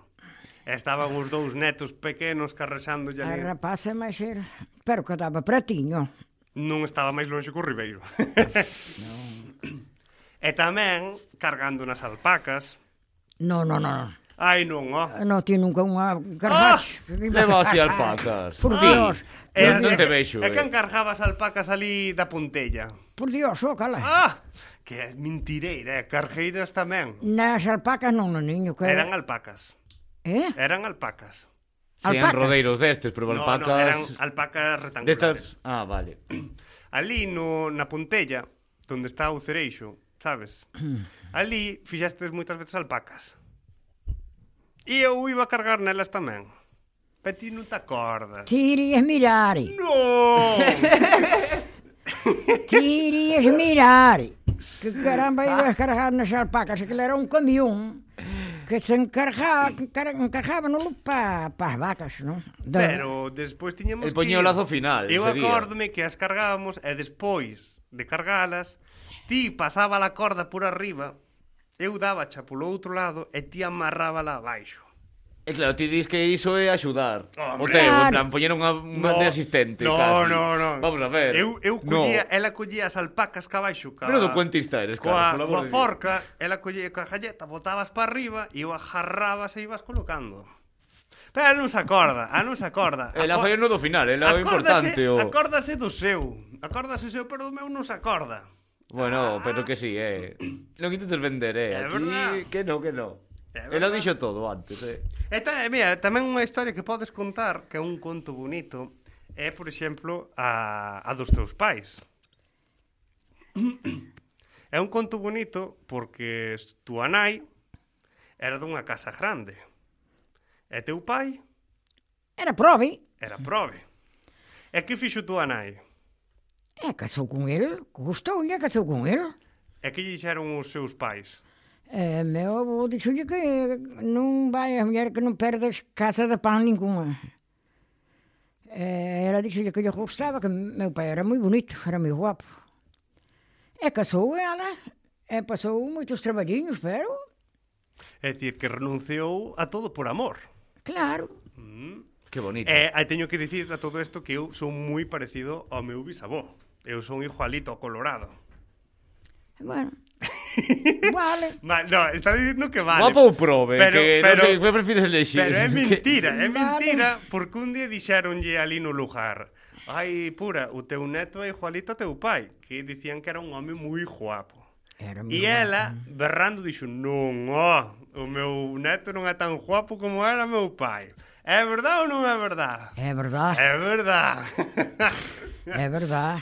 [SPEAKER 1] Estaban os dous netos pequenos carrexando
[SPEAKER 3] A
[SPEAKER 1] ali.
[SPEAKER 3] rapaza, mas era, pero que estava pratinho.
[SPEAKER 1] Non estaba máis longe que o Ribeiro. e tamén cargando nas alpacas.
[SPEAKER 3] Não, não, não.
[SPEAKER 1] Ai, non, ó.
[SPEAKER 3] Eu Não tinha nunca uma carvache.
[SPEAKER 2] Leva as alpacas.
[SPEAKER 3] Por Deus.
[SPEAKER 1] Ah!
[SPEAKER 2] Eh,
[SPEAKER 1] É,
[SPEAKER 3] por
[SPEAKER 2] non
[SPEAKER 1] né?
[SPEAKER 3] Deus.
[SPEAKER 2] te vexo,
[SPEAKER 1] E
[SPEAKER 2] eh.
[SPEAKER 1] quen cargaba as alpacas ali da puntella?
[SPEAKER 3] Por Deus, só cala.
[SPEAKER 1] Ah, que é mentireira, eh? cargueiras tamén.
[SPEAKER 3] Nas alpacas não, no ninho. Que...
[SPEAKER 1] Eran alpacas,
[SPEAKER 3] É?
[SPEAKER 1] eran alpacas.
[SPEAKER 2] Sean
[SPEAKER 3] Alpacas.
[SPEAKER 2] rodeiros destes, pero
[SPEAKER 1] No, no, eran
[SPEAKER 2] alpacas...
[SPEAKER 1] alpacas
[SPEAKER 2] destas-
[SPEAKER 1] rectangulares.
[SPEAKER 2] Ah, vale.
[SPEAKER 1] Ali no, na puntella, onde está o cereixo, sabes? Ali fixastes moitas veces alpacas. E eu iba a cargar nelas tamén. Pero ti non te acordas.
[SPEAKER 3] Tirias mirari.
[SPEAKER 1] Non!
[SPEAKER 3] Tirias mirari. Que caramba ibas carregar nas alpacas. Aquilo era um caminhão que se encarregava, que encar- encarregava no para, para as vacas, não? Da-
[SPEAKER 1] Pero despois tiñamos
[SPEAKER 2] El poñía
[SPEAKER 1] ir.
[SPEAKER 2] o lazo final,
[SPEAKER 1] Eu
[SPEAKER 2] ese día.
[SPEAKER 1] acórdome que as cargábamos e despois de cargalas, ti pasaba a corda por arriba, eu daba xa polo outro lado e ti amarrábala abaixo.
[SPEAKER 2] E claro, ti dis que iso é axudar. O
[SPEAKER 1] Hombre.
[SPEAKER 2] teu, en
[SPEAKER 3] Claro.
[SPEAKER 2] plan, poñer unha, unha
[SPEAKER 1] No,
[SPEAKER 2] de asistente,
[SPEAKER 1] no,
[SPEAKER 2] casi.
[SPEAKER 1] No, no,
[SPEAKER 2] Vamos a ver.
[SPEAKER 1] Eu, eu eh, collía, no. ela collía as alpacas ca baixo. Ca...
[SPEAKER 2] Menudo cuentista eres,
[SPEAKER 1] coa, coa
[SPEAKER 2] Carlos, por amor de Dios.
[SPEAKER 1] forca, ela collía coa galleta, botabas para arriba e o ajarrabas e ibas colocando. Pero ela non se acorda, ela non se acorda.
[SPEAKER 2] No. Ela
[SPEAKER 1] Acor-
[SPEAKER 2] foi no do final, ela é o importante. O...
[SPEAKER 1] Acórdase do seu. Acórdase do seu, pero do meu non se acorda.
[SPEAKER 2] Bueno, pero que sí, eh. Lo que intentes vender, eh.
[SPEAKER 1] É
[SPEAKER 2] Aquí,
[SPEAKER 1] verdad.
[SPEAKER 2] que no, que no.
[SPEAKER 1] É
[SPEAKER 2] Ela
[SPEAKER 1] verdad.
[SPEAKER 2] dixo todo antes, eh.
[SPEAKER 1] E ta, e mira, tamén unha historia que podes contar, que é un conto bonito, é, por exemplo, a, a dos teus pais. É un conto bonito porque tua nai era dunha casa grande. E teu pai
[SPEAKER 3] Era prove.
[SPEAKER 1] era prove. E que fixo tua nai?
[SPEAKER 3] É, casou com ele, gostou-lhe, casou com ele.
[SPEAKER 1] E que lle dixeron os seus pais?
[SPEAKER 3] É, meu avô disse-lhe que não vai a mulher que não perde as caças de pão nenhuma. É, ela disse-lhe que eu gostava, que meu pai era muito bonito, era muito guapo. É, casou ela, é, passou muitos trabalhinhos, pero,
[SPEAKER 1] É dicir, que renunciou a todo por amor.
[SPEAKER 3] claro,
[SPEAKER 2] Que bonito.
[SPEAKER 1] E aí teño que dicir a todo isto que eu son moi parecido ao meu bisavó. Eu son igualito ao Colorado.
[SPEAKER 3] bueno, vale.
[SPEAKER 1] Ma, no, está dicindo que vale.
[SPEAKER 2] Guapo ou prove,
[SPEAKER 1] Pero-
[SPEAKER 2] que
[SPEAKER 1] pero-
[SPEAKER 2] non sei, que prefires elexir.
[SPEAKER 1] Pero é
[SPEAKER 2] Que-
[SPEAKER 1] mentira, é
[SPEAKER 3] Vale.
[SPEAKER 1] mentira, porque un día dixeronlle ali no lugar Ai, pura, o teu neto é igualito ao teu pai, que dicían que era un home moi guapo.
[SPEAKER 3] Era
[SPEAKER 1] E
[SPEAKER 3] muito
[SPEAKER 1] ela, berrando, dixo, non, ó, o meu neto non é tan guapo como era meu pai. É verdade ou non é verdade?
[SPEAKER 3] É verdade,
[SPEAKER 1] É verdade.
[SPEAKER 3] é verdade.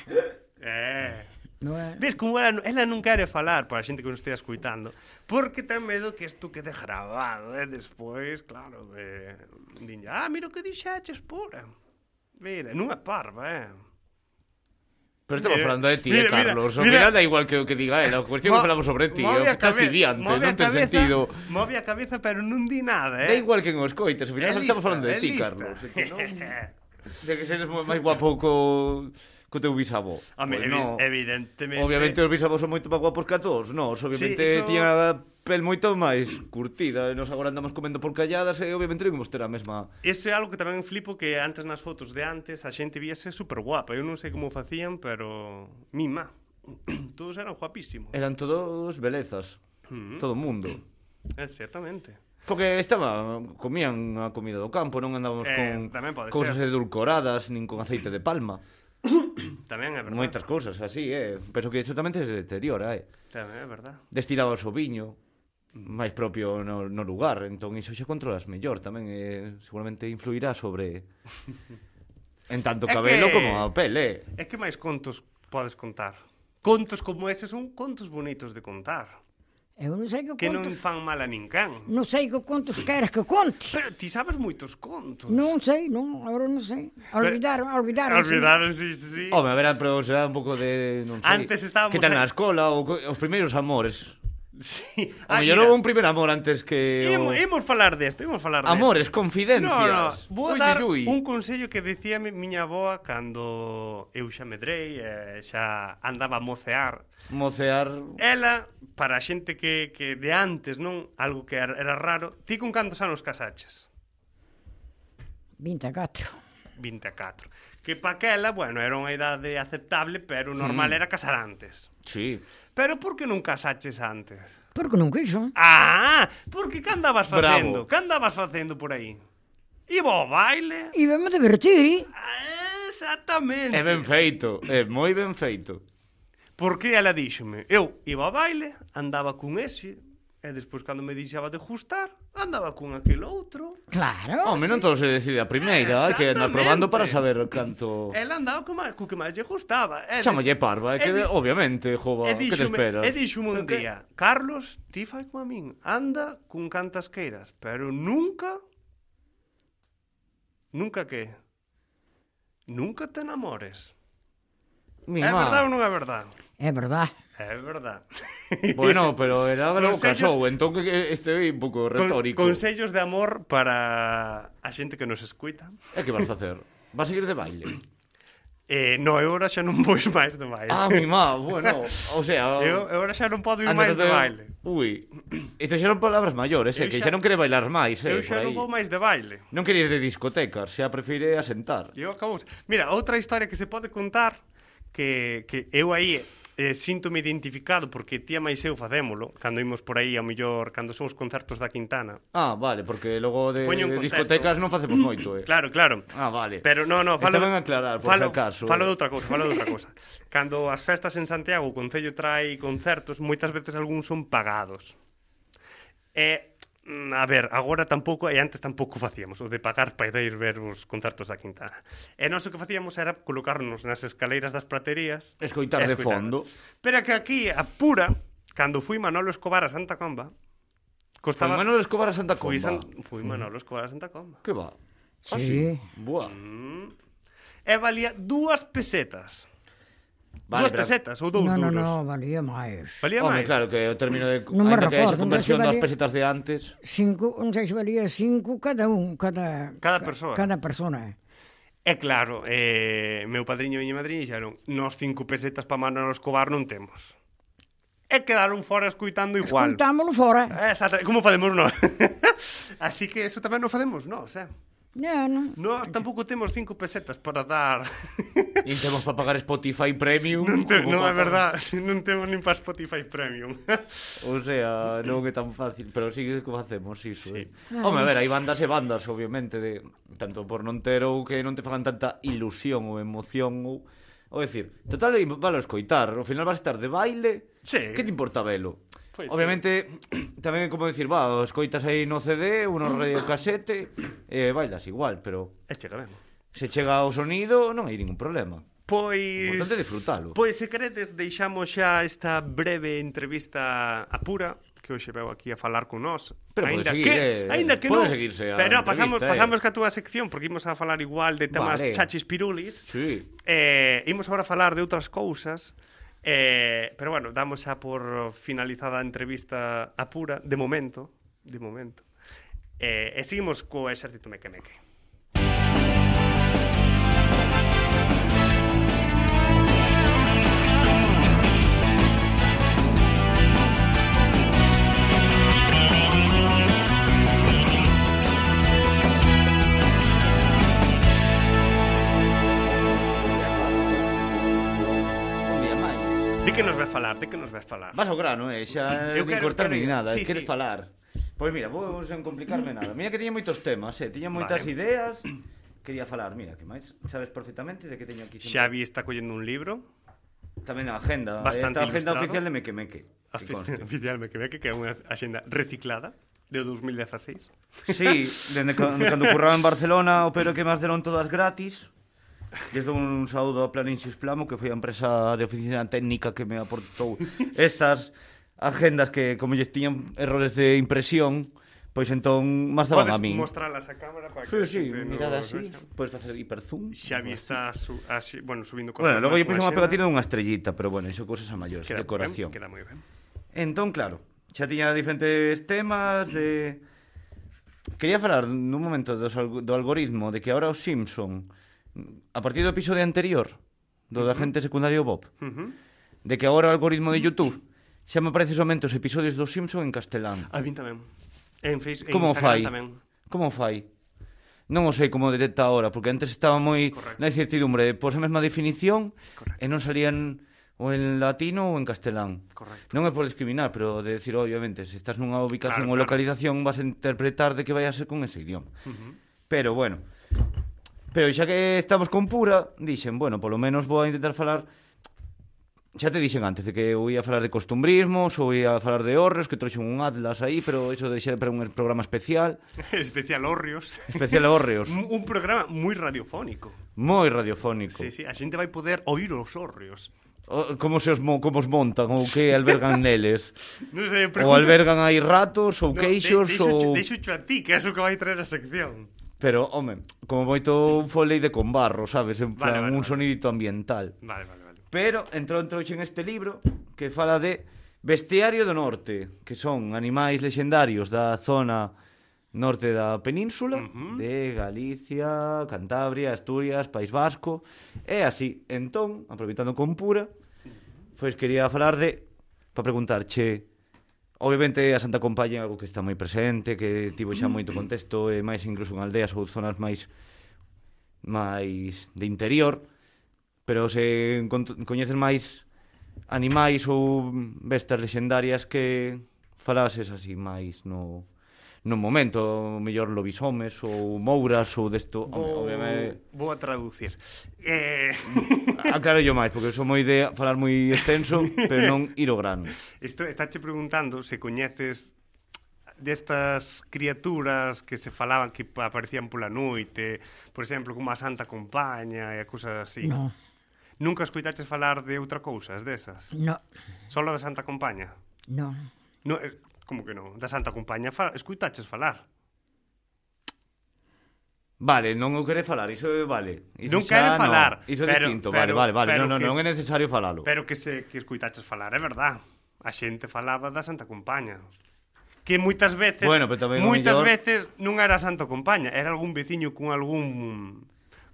[SPEAKER 1] é.
[SPEAKER 3] Não é?
[SPEAKER 1] Ves como ela, ela non quere falar para a xente que non estea escuitando Porque ten medo que isto quede grabado E despois, claro, de... Dinlle, ah, mira o que dixaches, pura Mira, non é parva, eh
[SPEAKER 2] Pero estamos
[SPEAKER 1] Mira,
[SPEAKER 2] falando de ti,
[SPEAKER 1] mira,
[SPEAKER 2] eh, Carlos.
[SPEAKER 1] mira,
[SPEAKER 2] o
[SPEAKER 1] mira.
[SPEAKER 2] final da igual que o que diga ela. A cuestión
[SPEAKER 1] Mo-
[SPEAKER 2] que falamos sobre ti, o
[SPEAKER 1] move
[SPEAKER 2] que
[SPEAKER 1] a
[SPEAKER 2] estás
[SPEAKER 1] cabe-
[SPEAKER 2] diante,
[SPEAKER 1] move
[SPEAKER 2] non
[SPEAKER 1] a
[SPEAKER 2] ten
[SPEAKER 1] cabeza- Eh.
[SPEAKER 2] sentido.
[SPEAKER 1] Move a cabeza, pero non di nada, eh
[SPEAKER 2] Da igual que nos coites,
[SPEAKER 1] É
[SPEAKER 2] ao final
[SPEAKER 1] lista,
[SPEAKER 2] estamos falando de
[SPEAKER 1] é
[SPEAKER 2] ti,
[SPEAKER 1] lista.
[SPEAKER 2] Carlos. De que, non... de que seres mo- máis guapo co, co teu bisavó.
[SPEAKER 1] Home,
[SPEAKER 2] Pois
[SPEAKER 1] evi-
[SPEAKER 2] non.
[SPEAKER 1] Ah, evidentemente
[SPEAKER 2] Obviamente os bisavós son moito máis guapos que a todos, nós.
[SPEAKER 1] Sí,
[SPEAKER 2] Obviamente
[SPEAKER 1] iso-
[SPEAKER 2] tiña a pel moito máis curtida. E nos agora andamos comendo por calladas e obviamente non imos ter a mesma...
[SPEAKER 1] Eso é algo que tamén flipo que antes nas fotos de antes a xente víase super guapa. Eu non sei como facían, pero mima. Todos eran guapísimos.
[SPEAKER 2] Eran todos belezas.
[SPEAKER 1] Mm.
[SPEAKER 2] Todo o mundo.
[SPEAKER 1] Exactamente.
[SPEAKER 2] Porque estaba, comían a comida do campo, non andábamos
[SPEAKER 1] Eh,
[SPEAKER 2] con
[SPEAKER 1] tamén pode
[SPEAKER 2] cousas
[SPEAKER 1] ser.
[SPEAKER 2] edulcoradas, nin con aceite de palma.
[SPEAKER 1] Tamén é verdade.
[SPEAKER 2] Moitas cousas así, eh. Penso que iso tamén se deteriora, eh.
[SPEAKER 1] Tamén é verdade.
[SPEAKER 2] Destilabas o viño máis propio no, no lugar, entón iso xa controlas mellor tamén, eh, seguramente influirá sobre en tanto
[SPEAKER 1] É que-
[SPEAKER 2] cabelo como a pele, eh.
[SPEAKER 1] E que máis contos podes contar? Contos como ese son contos bonitos de contar.
[SPEAKER 3] Eu não sei que,
[SPEAKER 1] Que non
[SPEAKER 3] contos,
[SPEAKER 1] fan mal a ninguén.
[SPEAKER 3] não... sei que contos queres que conte.
[SPEAKER 1] Pero ti sabes moitos contos.
[SPEAKER 3] Não sei, não, agora não sei. Olvidaram, olvidaron.
[SPEAKER 1] Olvidaron, sí, sí, sí.
[SPEAKER 2] Home, a ver, pero será un pouco de... Non sei,
[SPEAKER 1] Antes estábamos
[SPEAKER 2] Que tal
[SPEAKER 1] a-
[SPEAKER 2] na escola, o, co- os primeiros amores.
[SPEAKER 1] Sí. Ah,
[SPEAKER 2] Ah, yo
[SPEAKER 1] mira.
[SPEAKER 2] non un primer amor antes que
[SPEAKER 1] Imos,
[SPEAKER 2] o...
[SPEAKER 1] imos falar desto, imos falar desto.
[SPEAKER 2] Amores, confidencias.
[SPEAKER 1] No, no, vou
[SPEAKER 2] Ui,
[SPEAKER 1] dar
[SPEAKER 2] ui, ui.
[SPEAKER 1] un consello que dicía mi- miña avoa cando eu xa medrei, eh, xa andaba a mocear.
[SPEAKER 2] mocear
[SPEAKER 1] Ela, para a xente que, que de antes, non? Algo que era era raro. Ti con cantos anos casaches?
[SPEAKER 3] 24.
[SPEAKER 1] 24. Que paquela, bueno, era unha idade aceptable, pero o normal
[SPEAKER 2] Mm.
[SPEAKER 1] era casar antes.
[SPEAKER 2] Sí.
[SPEAKER 1] Pero por que non casaches antes?
[SPEAKER 3] Porque non quixo.
[SPEAKER 1] Ah, porque que andabas
[SPEAKER 2] Bravo.
[SPEAKER 1] facendo? Que andabas facendo por aí? Iba ao baile?
[SPEAKER 3] Íbame a divertir, e?
[SPEAKER 1] Ah, Exactamente.
[SPEAKER 2] É ben feito, é moi ben feito.
[SPEAKER 1] Porque ela díxome, eu iba ao baile, andaba cun ese, e despois cando me deixaba de gustar, andaba cun aquel outro.
[SPEAKER 3] claro.
[SPEAKER 2] Home, non todo se decide a primeira, hai que andar
[SPEAKER 1] Exactamente.
[SPEAKER 2] probando para saber canto...
[SPEAKER 1] Ela andaba co, ma- co que máis lle gustaba. E des-
[SPEAKER 2] Chámalle parva, é que
[SPEAKER 1] e Eh, di- eh,
[SPEAKER 2] obviamente, jova,
[SPEAKER 1] E
[SPEAKER 2] que te
[SPEAKER 1] díxome,
[SPEAKER 2] esperas?
[SPEAKER 1] e díxome un
[SPEAKER 2] Que-
[SPEAKER 1] día, Carlos, ti fai como a min, anda cun cantas queiras, pero nunca nunca que nunca te namores.
[SPEAKER 2] Mi
[SPEAKER 1] É
[SPEAKER 2] má.
[SPEAKER 1] verdade ou non é verdade?
[SPEAKER 3] É verdade.
[SPEAKER 1] É verdade.
[SPEAKER 2] Bueno, pero era logo
[SPEAKER 1] Consellos-
[SPEAKER 2] casou, entón que- que este é un pouco retórico.
[SPEAKER 1] Con, consellos de amor para a xente que nos escuita.
[SPEAKER 2] É que vas facer? Vas seguir de baile?
[SPEAKER 1] Eh, no, eu ahora xa non pois máis de baile.
[SPEAKER 2] Ah, mi má, bueno, o sea...
[SPEAKER 1] eu, eu ahora xa non podo ir
[SPEAKER 2] antes
[SPEAKER 1] máis de
[SPEAKER 2] de-
[SPEAKER 1] baile.
[SPEAKER 2] Ui, isto xa non palabras maiores,
[SPEAKER 1] Eu
[SPEAKER 2] é que
[SPEAKER 1] xa-
[SPEAKER 2] xa non quere bailar máis, é,
[SPEAKER 1] Eu
[SPEAKER 2] por
[SPEAKER 1] xa non
[SPEAKER 2] aí.
[SPEAKER 1] vou máis de baile.
[SPEAKER 2] Non queres de discotecas, xa prefire asentar.
[SPEAKER 1] Eu acabo... Mira, outra historia que se pode contar que, que eu aí eh, síntome identificado porque tía máis eu facémolo cando imos por aí, ao millor, cando son os concertos da Quintana.
[SPEAKER 2] Ah, vale, porque logo de,
[SPEAKER 1] Poño en
[SPEAKER 2] de
[SPEAKER 1] contexto.
[SPEAKER 2] discotecas non facemos moito, eh.
[SPEAKER 1] Claro, claro.
[SPEAKER 2] Ah, vale.
[SPEAKER 1] Pero no, no, falo...
[SPEAKER 2] Estaban a aclarar, por
[SPEAKER 1] falo,
[SPEAKER 2] si acaso. eh.
[SPEAKER 1] Falo de outra cousa, falo de outra cousa. Cando as festas en Santiago, o Concello trai concertos, moitas veces algúns son pagados. E, mm, a ver, agora tampouco, e antes tampouco facíamos, o de pagar para ir ver os concertos da Quintana. E nós o que facíamos era colocarnos nas escaleiras das praterías...
[SPEAKER 2] Escoitar
[SPEAKER 1] e
[SPEAKER 2] de
[SPEAKER 1] escoitar.
[SPEAKER 2] fondo.
[SPEAKER 1] Pero que aquí, a pura, cando fui Manolo Escobar a Santa Comba, costaba...
[SPEAKER 2] Estaba... Manolo Escobar Mm. a Santa Comba.
[SPEAKER 1] Fui, San... fui Manolo Escobar a Santa Comba.
[SPEAKER 2] Que va? Ah,
[SPEAKER 3] Sí.
[SPEAKER 2] Buah.
[SPEAKER 1] E valía dúas pesetas.
[SPEAKER 2] Vale,
[SPEAKER 1] Vale, dúas
[SPEAKER 2] pero-
[SPEAKER 1] pesetas ou dous
[SPEAKER 3] Non, non,
[SPEAKER 1] duros.
[SPEAKER 3] non, valía máis.
[SPEAKER 1] Valía
[SPEAKER 2] Home,
[SPEAKER 1] máis.
[SPEAKER 2] claro, que o término de...
[SPEAKER 3] Non me
[SPEAKER 2] Ainda que esa
[SPEAKER 3] recordo, non
[SPEAKER 2] conversión
[SPEAKER 3] sei
[SPEAKER 2] das
[SPEAKER 3] valía-
[SPEAKER 2] pesetas de antes...
[SPEAKER 3] Cinco, non sei se valía cinco cada un, cada...
[SPEAKER 1] Cada
[SPEAKER 3] ca-
[SPEAKER 1] persoa.
[SPEAKER 3] Cada persona.
[SPEAKER 1] E claro, eh, meu padriño e miña madriña dixeron nos cinco pesetas para Manolo Escobar non temos. E quedaron fora escuitando igual.
[SPEAKER 3] Contámoslo fora.
[SPEAKER 1] Eh, Exacto, como facemos nós? Así que eso tamén non facemos nós, eh?
[SPEAKER 3] Non, non.
[SPEAKER 1] Nós tampouco temos cinco pesetas para dar...
[SPEAKER 2] Nin temos para pagar Spotify Premium.
[SPEAKER 1] non, te, non,
[SPEAKER 2] como pa-
[SPEAKER 1] é verdad, non temos nin para Spotify Premium.
[SPEAKER 2] O sea, non é tan fácil, pero sí que facemos iso,
[SPEAKER 1] Sí.
[SPEAKER 2] sí. eh. Home, a ver, hai bandas e bandas, obviamente, de tanto por non ter ou que non te fagan tanta ilusión ou emoción ou ou decir, total, aí valo escoitar, ao final vas estar de baile,
[SPEAKER 1] Sí.
[SPEAKER 2] que te importa velo?
[SPEAKER 1] Pois
[SPEAKER 2] Pues obviamente, tamén é como decir, va, o escoitas aí no CD, ou no radiocasete, e eh, bailas igual, pero
[SPEAKER 1] e chega ben.
[SPEAKER 2] se chega ao sonido non hai ningún problema.
[SPEAKER 1] Pois...
[SPEAKER 2] Importante disfrutalo.
[SPEAKER 1] Pois, se queredes, deixamos xa esta breve entrevista a Pura, que hoxe veu aquí a falar con nós.
[SPEAKER 2] Pero pode
[SPEAKER 1] ainda
[SPEAKER 2] seguir,
[SPEAKER 1] que,
[SPEAKER 2] eh,
[SPEAKER 1] ainda que
[SPEAKER 2] pode
[SPEAKER 1] non.
[SPEAKER 2] seguirse a
[SPEAKER 1] Pero pasamos,
[SPEAKER 2] entrevista, eh.
[SPEAKER 1] pasamos ca túa sección, porque imos a falar igual de temas
[SPEAKER 2] Vale.
[SPEAKER 1] chachis pirulis.
[SPEAKER 2] Sí.
[SPEAKER 1] Eh, imos agora a falar de outras cousas. Eh, pero bueno, damos xa por finalizada a entrevista a Pura, de momento, de momento. Eh, e seguimos co exército meque meque.
[SPEAKER 2] Un día máis.
[SPEAKER 1] De que nos vai falar? De que nos vai falar?
[SPEAKER 2] Vas ao grano, eh, xa
[SPEAKER 1] Eu
[SPEAKER 2] eu
[SPEAKER 1] quero-
[SPEAKER 2] quero, cortarme
[SPEAKER 1] quero ir.
[SPEAKER 2] nin nada,
[SPEAKER 1] Sí,
[SPEAKER 2] sí, queres
[SPEAKER 1] sí.
[SPEAKER 2] sí. falar. Pois mira, vou sen complicarme nada. Mira que tiña moitos temas, eh, tiña moitas
[SPEAKER 1] Vale.
[SPEAKER 2] vale. ideas. Quería falar, mira, que máis sabes perfectamente de que teño aquí sempre-
[SPEAKER 1] Xavi está collendo un libro.
[SPEAKER 2] tamén a agenda,
[SPEAKER 1] Bastante
[SPEAKER 2] esta agenda
[SPEAKER 1] ilustrado.
[SPEAKER 2] oficial de Mequemeque. que conste.
[SPEAKER 1] Oficial me quedé que é unha axenda reciclada de 2016.
[SPEAKER 2] Sí, dende ca- cando curraba en Barcelona, o pero que me deron todas gratis. Lles dou un saúdo a Planinsis Plamo, que foi a empresa de oficina técnica que me aportou estas agendas que, como lles tiñan errores de impresión, pois entón máis daban
[SPEAKER 1] Podes
[SPEAKER 2] a min.
[SPEAKER 1] mostralas á cámara para que
[SPEAKER 2] Sí,
[SPEAKER 1] a
[SPEAKER 2] sí,
[SPEAKER 1] xente
[SPEAKER 2] mirada
[SPEAKER 1] nos
[SPEAKER 2] así,
[SPEAKER 1] vexa.
[SPEAKER 2] podes facer hiperzoom.
[SPEAKER 1] Xavi está su, así, bueno, subindo
[SPEAKER 2] Bueno, logo lle
[SPEAKER 1] máis
[SPEAKER 2] puxo unha
[SPEAKER 1] axenda.
[SPEAKER 2] pegatina dunha estrellita, pero bueno, iso cousas a maiores,
[SPEAKER 1] Queda moi ben,
[SPEAKER 2] decoración.
[SPEAKER 1] Queda moi ben.
[SPEAKER 2] Entón, claro, xa tiña diferentes temas de Quería falar nun momento dos, alg- do algoritmo de que ahora os Simpson a partir do episodio anterior do da gente secundario Bob
[SPEAKER 1] Ujú.
[SPEAKER 2] de que agora o algoritmo de YouTube xa me aparece somente os episodios dos Simpson en castelán.
[SPEAKER 1] A min tamén. En Face, en
[SPEAKER 2] Como
[SPEAKER 1] Instagram
[SPEAKER 2] fai?
[SPEAKER 1] tamén.
[SPEAKER 2] Como fai? Non o sei como detecta ahora, porque antes estaba moi
[SPEAKER 1] Correcto.
[SPEAKER 2] na incertidumbre, pois a mesma definición
[SPEAKER 1] Correcto.
[SPEAKER 2] e non salían ou en latino ou en castelán.
[SPEAKER 1] Correcto.
[SPEAKER 2] Non é por discriminar, pero de decir, "Oh, obviamente, se estás nunha ubicación
[SPEAKER 1] Claro,
[SPEAKER 2] ou
[SPEAKER 1] claro.
[SPEAKER 2] localización vas a interpretar de que vai a ser con ese idioma. Pero bueno, pero xa que estamos con pura, dixen, bueno, polo menos vou a intentar falar Xa te dixen antes de que eu ia falar de costumbrismos ou ia falar de horros, que trouxen un atlas aí, pero iso deixar para un programa especial,
[SPEAKER 1] Especial Horrios.
[SPEAKER 2] especial a horreos,
[SPEAKER 1] Un un programa moi radiofónico.
[SPEAKER 2] moi radiofónico.
[SPEAKER 1] Sí, sí, a xente vai poder oír os horrios.
[SPEAKER 2] O, como se os mo, como os montan ou que albergan neles?
[SPEAKER 1] Non sei,
[SPEAKER 2] ou albergan aí ratos ou
[SPEAKER 1] No, de-
[SPEAKER 2] queixos ou
[SPEAKER 1] deixo- Deixo a ti, que é o que vai traer a sección.
[SPEAKER 2] Pero, home, como moito un foley de con barro, sabes? En
[SPEAKER 1] Vale,
[SPEAKER 2] plan,
[SPEAKER 1] vale, vale.
[SPEAKER 2] un sonidito ambiental.
[SPEAKER 1] Vale, vale, vale.
[SPEAKER 2] Pero entrou en trouxen este libro que fala de Bestiario do Norte, que son animais lexendarios da zona norte da península,
[SPEAKER 1] Ujú.
[SPEAKER 2] de Galicia, Cantabria, Asturias, País Vasco, e así. Entón, aproveitando con pura, pois quería falar de para preguntarche Obviamente a Santa Compaña é algo que está moi presente, que tivo xa moito contexto, e máis incluso en aldeas ou zonas máis máis de interior, pero se encont- coñeces máis animais ou bestas lexendarias que falases así máis no no momento, mellor lobisomes ou mouras ou desto,
[SPEAKER 1] Vou,
[SPEAKER 2] obviamente
[SPEAKER 1] vou a traducir. Eh,
[SPEAKER 2] aclaro yo máis, porque sou moi de falar moi extenso, pero non ir ao grano.
[SPEAKER 1] isto estáche preguntando se coñeces destas criaturas que se falaban que aparecían pola noite, por exemplo, como a Santa Compaña e cousas así.
[SPEAKER 3] No,
[SPEAKER 1] Nunca escoitaches falar de outra cousa, desas?
[SPEAKER 3] no,
[SPEAKER 1] Solo da Santa Compaña?
[SPEAKER 3] no.
[SPEAKER 1] No, eh, como que non? Da Santa Compaña fa, escoitaches falar.
[SPEAKER 2] Vale, non o quere falar, iso é- vale. Iso
[SPEAKER 1] Non quere
[SPEAKER 2] xa non,
[SPEAKER 1] falar,
[SPEAKER 2] Iso é
[SPEAKER 1] pero-
[SPEAKER 2] distinto,
[SPEAKER 1] pero-
[SPEAKER 2] vale, vale, vale.
[SPEAKER 1] pero
[SPEAKER 2] non, non,
[SPEAKER 1] que
[SPEAKER 2] non é
[SPEAKER 1] es-
[SPEAKER 2] necesario falalo.
[SPEAKER 1] Pero que se que escoitaches falar, é verdad. A xente falaba da Santa Compaña. Que moitas veces,
[SPEAKER 2] Bueno, pero tamén o
[SPEAKER 1] moitas
[SPEAKER 2] mellor-
[SPEAKER 1] veces non era Santa Compaña, era algún veciño con algún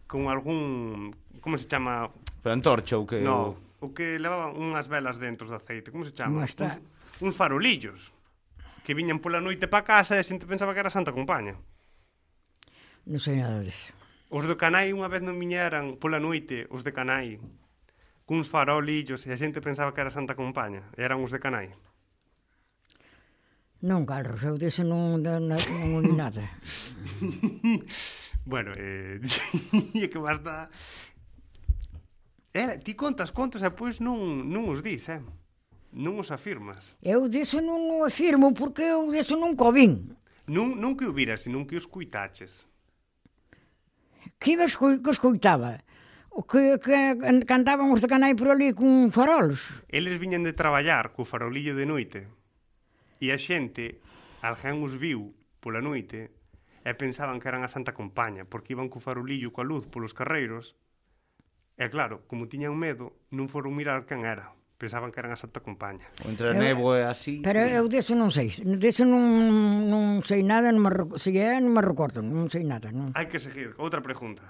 [SPEAKER 1] con algún, como se chama?
[SPEAKER 2] Pero antorcha ou que...
[SPEAKER 1] No, o que levaba unhas velas dentro de aceite, como se chama?
[SPEAKER 3] Unha está.
[SPEAKER 1] Uns, uns farolillos que viñan pola noite pa casa e a xente pensaba que era Santa Compaña.
[SPEAKER 3] No sei nada disso.
[SPEAKER 1] Os do Canai unha vez non miñeran pola noite, os de Canai, cuns farolillos e a xente pensaba que era Santa Compaña, e eran os de Canai.
[SPEAKER 3] Non, Carlos, eu disso non, non, non li nada.
[SPEAKER 1] Bueno, eh, e que máis dá... Eh, ti contas contos e pois non, non os dis, eh? Non os afirmas.
[SPEAKER 3] Eu disso non o afirmo porque eu disso nunca o vin.
[SPEAKER 1] Non, non que o viras, senón que os cuitaches.
[SPEAKER 3] Que eu escu- que escoitaba? O que, que cantaban os de Canai por ali con farolos?
[SPEAKER 1] Eles viñan de traballar co farolillo de noite e a xente, alguén os viu pola noite e pensaban que eran a Santa Compaña porque iban co farolillo coa luz polos carreiros e claro, como tiñan medo, non foron mirar quen era. Pensaban que eran a Santa Compaña.
[SPEAKER 2] O entre a
[SPEAKER 3] Eu-
[SPEAKER 2] nebo e así...
[SPEAKER 3] Pero eu disso non sei, disso non, non sei nada, non me, rec- se é, non me recordo, non sei nada. Non,
[SPEAKER 1] Hai que seguir. Outra pregunta.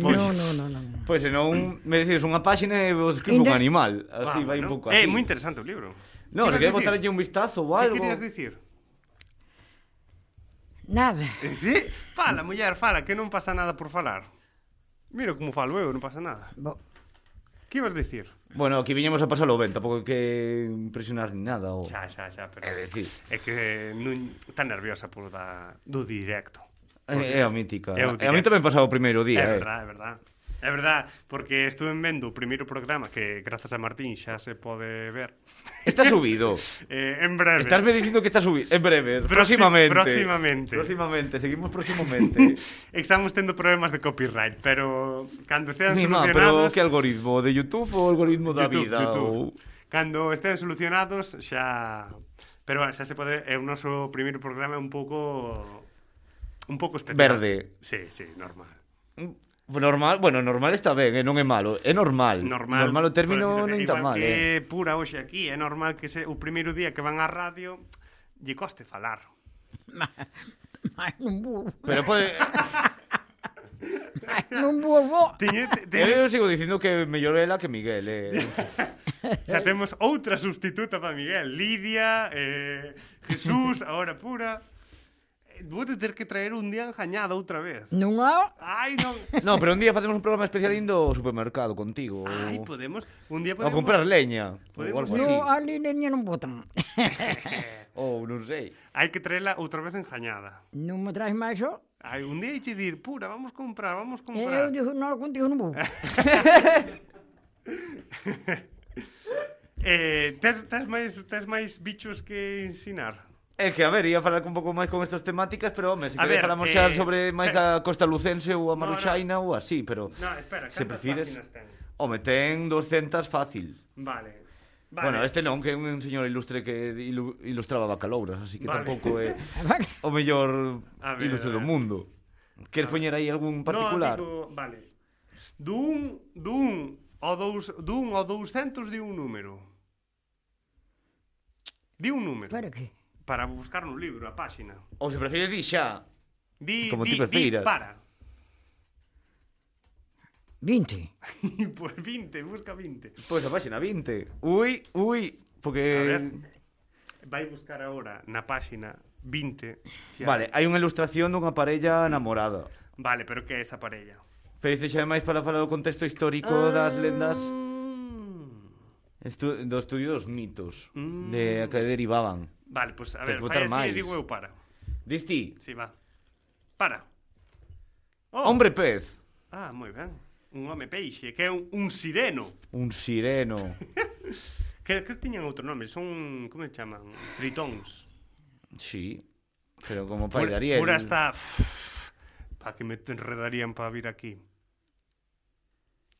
[SPEAKER 3] non, non, non. non.
[SPEAKER 2] Pois senón me decides unha páxina e vos escribo un
[SPEAKER 3] Ainda-
[SPEAKER 2] animal.
[SPEAKER 1] Ah,
[SPEAKER 2] Así vai
[SPEAKER 1] bueno.
[SPEAKER 2] un pouco
[SPEAKER 1] Eh,
[SPEAKER 2] así.
[SPEAKER 1] moi interesante o libro.
[SPEAKER 2] Non,
[SPEAKER 1] Ibas
[SPEAKER 2] se queres
[SPEAKER 1] dicir?
[SPEAKER 2] botarlle un vistazo ou
[SPEAKER 1] Que
[SPEAKER 2] algo...
[SPEAKER 1] querías dicir?
[SPEAKER 3] Nada.
[SPEAKER 1] Eh, Sí? Fala, muller, fala, que non pasa nada por falar. Mira como falo eu, non pasa nada.
[SPEAKER 3] Bo,
[SPEAKER 1] Que ibas dicir?
[SPEAKER 2] Bueno, aquí viñemos a pasalo ben, tampouco hai que impresionar ni nada. O...
[SPEAKER 1] Xa, xa, xa, pero...
[SPEAKER 2] É dicir.
[SPEAKER 1] É que non está nerviosa por da, do directo.
[SPEAKER 2] É, é a mítica.
[SPEAKER 1] É o
[SPEAKER 2] E a mí
[SPEAKER 1] directo.
[SPEAKER 2] tamén pasaba o primeiro
[SPEAKER 1] É
[SPEAKER 2] día, eh.
[SPEAKER 1] verdad, é verdad. É verdad, porque estuve vendo o primeiro programa que grazas a Martín xa se pode ver.
[SPEAKER 2] Está subido.
[SPEAKER 1] Eh, en breve.
[SPEAKER 2] Estasme dicindo que está subido. En breve,
[SPEAKER 1] Próxim-
[SPEAKER 2] próximamente.
[SPEAKER 1] próximamente.
[SPEAKER 2] Próximamente, seguimos próximamente.
[SPEAKER 1] Estamos tendo problemas de copyright, pero cando estean
[SPEAKER 2] Ni má,
[SPEAKER 1] solucionados...
[SPEAKER 2] pero que algoritmo de YouTube ou algoritmo da
[SPEAKER 1] YouTube,
[SPEAKER 2] vida
[SPEAKER 1] YouTube.
[SPEAKER 2] ou
[SPEAKER 1] Cando estean solucionados xa Pero bueno, xa se pode é o noso primeiro programa é un pouco un pouco especial.
[SPEAKER 2] Verde.
[SPEAKER 1] Sí, sí, normal.
[SPEAKER 2] mm, Normal, bueno, normal está ben, eh, non é malo, é normal.
[SPEAKER 1] normal.
[SPEAKER 2] normal o término
[SPEAKER 1] por así
[SPEAKER 2] non
[SPEAKER 1] decirlo.
[SPEAKER 2] está
[SPEAKER 1] Igual
[SPEAKER 2] mal,
[SPEAKER 1] que
[SPEAKER 2] eh.
[SPEAKER 1] pura hoxe aquí, é normal que se, o primeiro día que van á radio lle coste falar.
[SPEAKER 3] Mas non vou,
[SPEAKER 2] Pero pode,
[SPEAKER 3] mas non vou, vou.
[SPEAKER 1] Tiñe, tiñe,
[SPEAKER 2] eh, eu sigo dicindo que mellor ela que Miguel, eh.
[SPEAKER 1] xa temos outra sustituta para Miguel, Lidia, eh, Jesús, ahora pura. Eh, Vou te ter que traer un día enjañada outra vez.
[SPEAKER 3] Non há,
[SPEAKER 1] Ai, non.
[SPEAKER 2] No, pero un día facemos un programa especial indo ao supermercado contigo.
[SPEAKER 1] Ai, podemos, un día podemos
[SPEAKER 2] podemos... A comprar leña.
[SPEAKER 1] podemos ir-
[SPEAKER 2] Podemos... Ou algo así.
[SPEAKER 3] non, ali niña non botan.
[SPEAKER 2] Ou non sei.
[SPEAKER 1] Hai que traela outra vez enjañada.
[SPEAKER 3] non me traz máis só.
[SPEAKER 1] Ai, un día iche dir, pura, vamos comprar, vamos
[SPEAKER 3] E eu
[SPEAKER 1] comprar.
[SPEAKER 3] dixo, non, contigo non vou.
[SPEAKER 1] Eh, tes, tes máis tes máis bichos que ensinar.
[SPEAKER 2] É que, a ver, ia falar un pouco máis con estas temáticas, pero, home, se
[SPEAKER 1] A
[SPEAKER 2] queres
[SPEAKER 1] ver,
[SPEAKER 2] falamos
[SPEAKER 1] eh,
[SPEAKER 2] xa sobre máis
[SPEAKER 1] te-
[SPEAKER 2] a Costa Lucense ou
[SPEAKER 1] No,
[SPEAKER 2] a
[SPEAKER 1] no.
[SPEAKER 2] Maruxaina ou así, pero...
[SPEAKER 1] No, espera,
[SPEAKER 2] Se
[SPEAKER 1] cantas
[SPEAKER 2] prefires-
[SPEAKER 1] páxinas ten?
[SPEAKER 2] Home, ten 200 fácil.
[SPEAKER 1] Vale. Vale.
[SPEAKER 2] Vale. Bueno, este non, que é un señor ilustre que ilu ilustraba bacalouras, así que
[SPEAKER 1] Vale.
[SPEAKER 2] vale. tampouco é
[SPEAKER 3] Vale.
[SPEAKER 2] o mellor
[SPEAKER 1] A ver,
[SPEAKER 2] ilustre
[SPEAKER 1] a ver.
[SPEAKER 2] do mundo. Queres poñer aí algún particular?
[SPEAKER 1] No, digo, vale. Dun, dun o dous, dun o 200 de un número. Di un número.
[SPEAKER 3] Para que?
[SPEAKER 1] Para buscar no libro, a páxina.
[SPEAKER 2] Ou se prefires di xa.
[SPEAKER 1] Di,
[SPEAKER 2] Como
[SPEAKER 1] di,
[SPEAKER 2] ti
[SPEAKER 1] di
[SPEAKER 2] prefiras.
[SPEAKER 1] para.
[SPEAKER 3] 20.
[SPEAKER 1] Pois 20, busca 20.
[SPEAKER 2] Pois a páxina 20. Ui, ui,
[SPEAKER 1] A ver.
[SPEAKER 2] porque...
[SPEAKER 1] Vai buscar agora na páxina 20. que hai.
[SPEAKER 2] Vale, hai unha ilustración dunha parella namorada.
[SPEAKER 1] Vale, pero que é esa parella?
[SPEAKER 2] Pero isto xa é máis para falar do contexto histórico
[SPEAKER 1] Ah.
[SPEAKER 2] das lendas
[SPEAKER 1] Mm.
[SPEAKER 2] estu do estudio dos mitos
[SPEAKER 1] Mm.
[SPEAKER 2] de a que derivaban.
[SPEAKER 1] Vale, pois pues, a ver,
[SPEAKER 2] Tes
[SPEAKER 1] fai
[SPEAKER 2] que botar
[SPEAKER 1] así e
[SPEAKER 2] máis.
[SPEAKER 1] digo eu para.
[SPEAKER 2] Dis ti,
[SPEAKER 1] Si, va. Para. Oh.
[SPEAKER 2] hombre pez,
[SPEAKER 1] Ah, moi ben. Un home peixe, que é un, un sireno.
[SPEAKER 2] un sireno,
[SPEAKER 1] Que, que tiñan outro nome, son, como se chaman? Tritóns.
[SPEAKER 2] sí, pero como
[SPEAKER 1] Pura-
[SPEAKER 2] pai de Ariel.
[SPEAKER 1] Pura está... Pa que me te enredarían para vir aquí.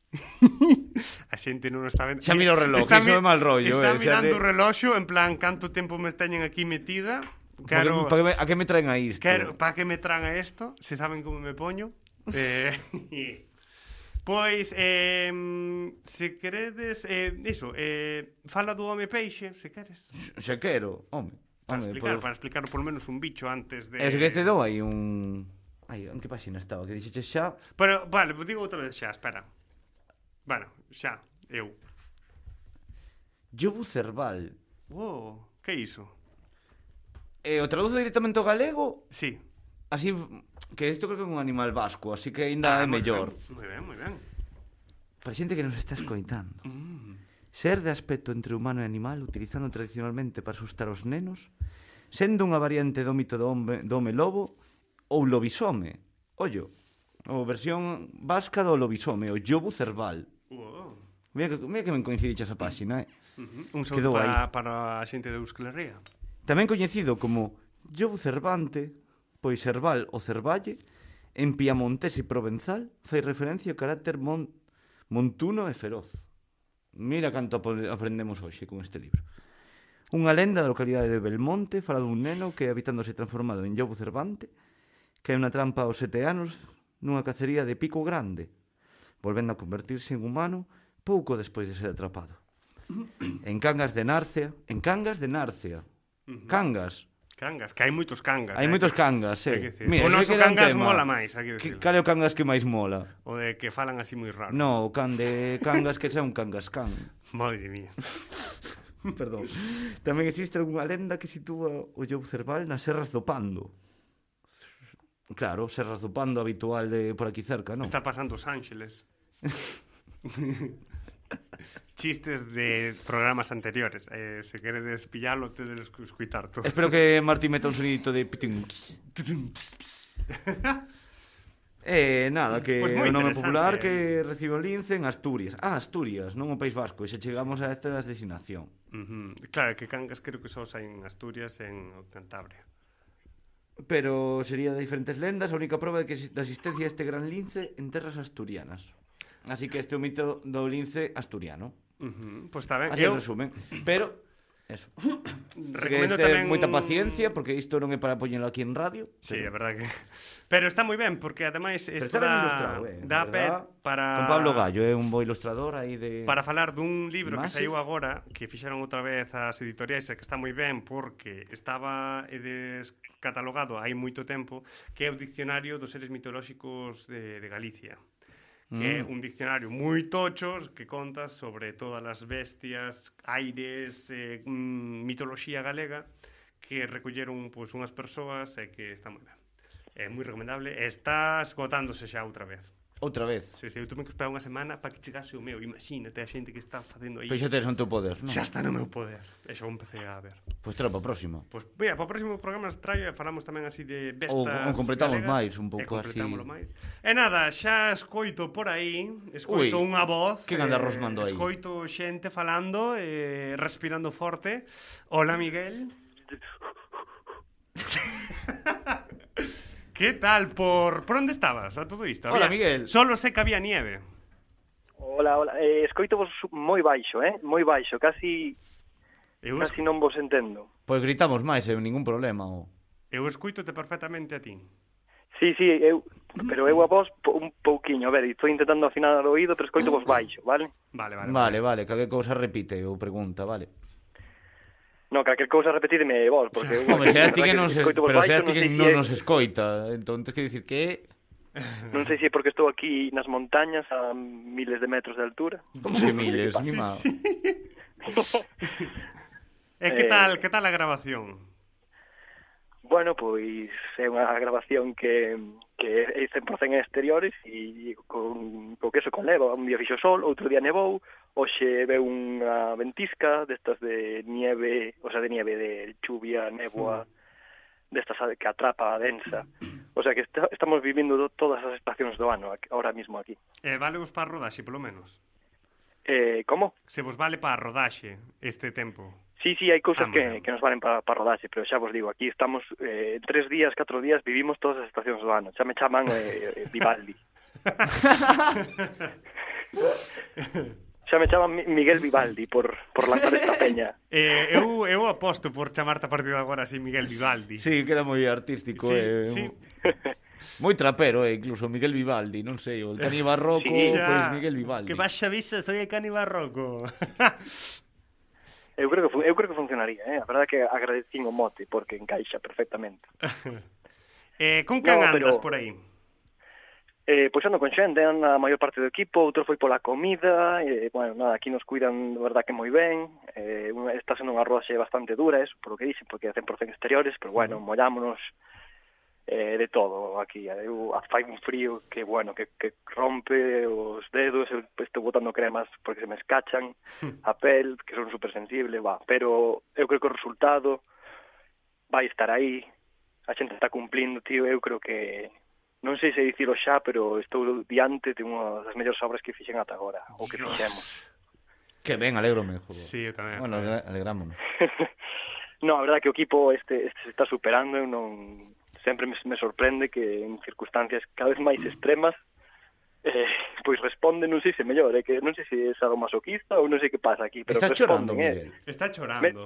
[SPEAKER 1] a xente non o está vendo.
[SPEAKER 2] Xa miro o reloj, iso é mal rollo,
[SPEAKER 1] Está
[SPEAKER 2] eh, xa
[SPEAKER 1] mirando
[SPEAKER 2] te-
[SPEAKER 1] o reloxo, en plan, canto tempo me teñen aquí metida. Quero,
[SPEAKER 2] Claro. Pa que, me, a que me traen a isto?
[SPEAKER 1] Quero, para que me traen a esto, se saben como me poño. Eh, pois, eh, se queredes, eh, iso, eh, fala do home peixe, se queres.
[SPEAKER 2] Se quero, home.
[SPEAKER 1] Para
[SPEAKER 2] home, pois-
[SPEAKER 1] explicar,
[SPEAKER 2] por-
[SPEAKER 1] para explicar por lo menos un bicho antes de...
[SPEAKER 2] Es que te dou aí un... Ai, en que páxina estaba? Que dixeche xa...
[SPEAKER 1] Pero, vale, pues digo outra vez xa, espera. Bueno, xa, eu.
[SPEAKER 2] Yobu Cerval.
[SPEAKER 1] Oh, que iso?
[SPEAKER 2] Eh, o traduzo directamente ao galego?
[SPEAKER 1] Sí.
[SPEAKER 2] Así que isto creo que é un animal vasco, así que ainda ah, é
[SPEAKER 1] moi
[SPEAKER 2] mellor.
[SPEAKER 1] ben, Moi ben, moi ben.
[SPEAKER 2] Para xente que nos está escoitando.
[SPEAKER 1] Mm.
[SPEAKER 2] Ser de aspecto entre humano e animal utilizando tradicionalmente para asustar os nenos, sendo unha variante do mito do home, do home lobo ou lobisome. Ollo, ou versión vasca do lobisome, o yobu cerval.
[SPEAKER 1] Oh.
[SPEAKER 2] Mira que, mira que me coincidiche esa páxina, eh?
[SPEAKER 1] Un saúdo
[SPEAKER 2] Quedou
[SPEAKER 1] para, para a xente de Euskal Herria.
[SPEAKER 2] Tamén coñecido como Yobu Cervante, pois Cerval ou Cervalle, en piamontés e provenzal, fai referencia ao carácter mon, montuno e feroz. Mira canto apo- aprendemos hoxe con este libro. Unha lenda da localidade de Belmonte fala dun neno que, habitándose transformado en Yobu Cervante, que é unha trampa aos sete anos nunha cacería de pico grande, volvendo a convertirse en humano pouco despois de ser atrapado. En Cangas de Narcea, en Cangas de Narcea, Cangas.
[SPEAKER 1] Cangas, que hai moitos cangas. eh.
[SPEAKER 2] Hai moitos cangas,
[SPEAKER 1] Hai que decir,
[SPEAKER 2] eh.
[SPEAKER 1] o noso
[SPEAKER 2] ese que era un
[SPEAKER 1] cangas
[SPEAKER 2] tema.
[SPEAKER 1] mola máis, hai que
[SPEAKER 2] Que,
[SPEAKER 1] decirlo.
[SPEAKER 2] cal é o cangas que máis mola?
[SPEAKER 1] O de que falan así moi raro.
[SPEAKER 2] No, o can de cangas que xa é un cangas can.
[SPEAKER 1] Madre mía.
[SPEAKER 2] Perdón. Tamén existe algunha lenda que sitúa o Job Cerval nas serras do Pando. Claro, serras do Pando habitual de por aquí cerca, non?
[SPEAKER 1] Está pasando os Ángeles. Chistes de programas anteriores. Eh, se queredes pillalo, tedes que escutar todo.
[SPEAKER 2] Espero que Martín meta un sonidito de pitín. Eh, nada, que
[SPEAKER 1] Pois
[SPEAKER 2] pues
[SPEAKER 1] moi
[SPEAKER 2] o nome
[SPEAKER 1] interesante.
[SPEAKER 2] popular que recibe o lince en Asturias. Ah, Asturias, non o País Vasco, e se chegamos a esta designación.
[SPEAKER 1] Ujú. Claro, que cangas creo que só hai en Asturias e en Cantabria.
[SPEAKER 2] Pero sería de diferentes lendas a única proba de que exi- da existencia deste gran lince en terras asturianas. Así que este é o mito do lince asturiano.
[SPEAKER 1] Uh -huh. Pois está ben.
[SPEAKER 2] Así eu... resumen. Pero Eso.
[SPEAKER 1] Recomendo
[SPEAKER 2] que
[SPEAKER 1] tamén
[SPEAKER 2] moita paciencia porque isto non é para poñelo aquí en radio.
[SPEAKER 1] Sí, é verdade que. Pero está moi ben porque ademais
[SPEAKER 2] Pero
[SPEAKER 1] isto
[SPEAKER 2] está ben
[SPEAKER 1] dá
[SPEAKER 2] ilustrado, eh,
[SPEAKER 1] dá pé
[SPEAKER 2] verdad?
[SPEAKER 1] para
[SPEAKER 2] Con Pablo Gallo, é un bo ilustrador aí de
[SPEAKER 1] para falar dun libro
[SPEAKER 2] Imaxes.
[SPEAKER 1] que saiu agora que fixeron outra vez as editoriais e que está moi ben porque estaba eh, descatalogado hai moito tempo que é o Diccionario dos Seres Mitolóxicos de, de Galicia que é un diccionario moi tochos que conta sobre todas as bestias, aires, eh, mm, mitoloxía galega que recolleron pois, unhas persoas e que está moi ben. É moi recomendable, e está esgotándose xa outra vez.
[SPEAKER 2] outra vez.
[SPEAKER 1] Sí, sí, eu tuve que esperar unha semana para que chegase o meu. Imagínate a xente que está facendo aí.
[SPEAKER 2] Pois xa tes non teu poder, non?
[SPEAKER 1] Xa está no meu poder. E xa o empecé a ver.
[SPEAKER 2] Pois trapa próxima.
[SPEAKER 1] Pois, mira, para o próximo programa nos traio e falamos tamén así de bestas
[SPEAKER 2] Ou- ou completamos
[SPEAKER 1] galegas.
[SPEAKER 2] máis, un
[SPEAKER 1] E
[SPEAKER 2] pouco
[SPEAKER 1] completámolo
[SPEAKER 2] así.
[SPEAKER 1] máis. E nada, xa escoito por aí, escoito
[SPEAKER 2] Ui,
[SPEAKER 1] unha voz. eh,
[SPEAKER 2] quen anda rosmando aí?
[SPEAKER 1] Escoito xente falando, eh, respirando forte. Hola, Miguel. que tal? Por, por onde estabas a todo isto?
[SPEAKER 2] Hola,
[SPEAKER 1] Había-
[SPEAKER 2] Miguel.
[SPEAKER 1] Solo sé que había nieve.
[SPEAKER 6] Hola, hola. Eh, escoito vos moi baixo, eh? Moi baixo, casi
[SPEAKER 1] Eu,
[SPEAKER 6] casi non vos entendo.
[SPEAKER 2] Pois gritamos máis, é ningún problema. O...
[SPEAKER 1] Eu escuítote perfectamente a ti.
[SPEAKER 6] Sí, sí, eu pero eu a
[SPEAKER 2] Mm.
[SPEAKER 6] vos po- un pouquiño, a ver, estou intentando afinar o oído, pero escoito
[SPEAKER 2] Mm.
[SPEAKER 6] vos baixo, vale?
[SPEAKER 1] Vale, vale.
[SPEAKER 2] Vale, vale, calquer cousa repite ou pregunta, vale.
[SPEAKER 6] No, calquer cousa repetideme vos, porque eu
[SPEAKER 2] Home, seas ti que non se...
[SPEAKER 6] escoito vos
[SPEAKER 2] Pero seas ti
[SPEAKER 6] sei
[SPEAKER 2] que
[SPEAKER 6] se
[SPEAKER 2] non
[SPEAKER 6] é-
[SPEAKER 2] nos escoita. Entón, tens que dicir que...
[SPEAKER 6] non sei se é porque estou aquí nas montañas a miles de metros de altura.
[SPEAKER 2] Como que miles, ni má.
[SPEAKER 1] E que
[SPEAKER 6] Eh,
[SPEAKER 1] tal, que tal a grabación?
[SPEAKER 6] Bueno, pois é unha grabación que que é 100% en exteriores e con, co que eso conleva, un día fixo sol, outro día nevou, hoxe veu unha ventisca destas de nieve, o sea, de nieve, de chuvia, néboa, destas que atrapa densa. O sea, que esta, estamos vivindo do- todas as estacións do ano ac- ahora mismo aquí.
[SPEAKER 1] E Eh, vale vos para a rodaxe, polo menos?
[SPEAKER 6] Eh, como?
[SPEAKER 1] Se vos vale para a rodaxe este tempo.
[SPEAKER 6] Sí, sí, hai
[SPEAKER 1] Ah,
[SPEAKER 6] cousas
[SPEAKER 1] bueno.
[SPEAKER 6] que, que nos valen para pa rodaxe, pero xa vos digo, aquí estamos eh, en tres días, catro días, vivimos todas as estacións do ano. Xa me chaman eh, eh, Vivaldi. xa me chaman Mi- Miguel Vivaldi por, por lanzar esta peña.
[SPEAKER 1] Eh, eu, eu aposto por chamarte a partir de agora así Miguel Vivaldi.
[SPEAKER 2] Sí, queda moi artístico,
[SPEAKER 1] sí,
[SPEAKER 2] eh.
[SPEAKER 1] sí.
[SPEAKER 2] Moi trapero, eh, incluso Miguel Vivaldi, non sei, o el Cani Barroco,
[SPEAKER 6] Sí,
[SPEAKER 2] pois pues Miguel Vivaldi.
[SPEAKER 1] Que vas a visa, soy el cani barroco.
[SPEAKER 6] Eu creo que fu- eu creo que funcionaría, eh? A verdade é que agradecín o mote porque encaixa perfectamente.
[SPEAKER 1] eh, con can
[SPEAKER 6] No,
[SPEAKER 1] no, andas
[SPEAKER 6] pero-
[SPEAKER 1] por aí?
[SPEAKER 6] Eh, pois ando con xente, anda a maior parte do equipo, outro foi pola comida, e, bueno, nada, aquí nos cuidan, de verdad que moi ben, eh, unha- está sendo unha rodaxe bastante dura, eso, por lo que dicen, porque hacen por exteriores, pero bueno, mollámonos eh, de todo aquí. Eu, a- fai un frío que, bueno, que, que rompe os dedos, eu estou botando cremas porque se me escachan, a pel, que son supersensible, va, pero eu creo que o resultado vai estar aí, a xente está cumplindo, tío, eu creo que non sei se dicilo xa, pero estou diante de unha das mellores obras que fixen ata agora, ou que fixemos.
[SPEAKER 2] Que ben, alégrome, joder.
[SPEAKER 1] Sí, eh. eu tamén.
[SPEAKER 2] Bueno, agra- alegrámonos.
[SPEAKER 6] No, a verdade é que o equipo este, este se está superando, eu non sempre me, me sorprende que en circunstancias cada vez máis extremas eh, pois responde, non sei se mellor, é que non sei se é sadomasoquista ou non sei que pasa aquí, pero
[SPEAKER 2] Estás chorando,
[SPEAKER 6] responden,
[SPEAKER 2] Miguel.
[SPEAKER 6] eh.
[SPEAKER 1] Está chorando.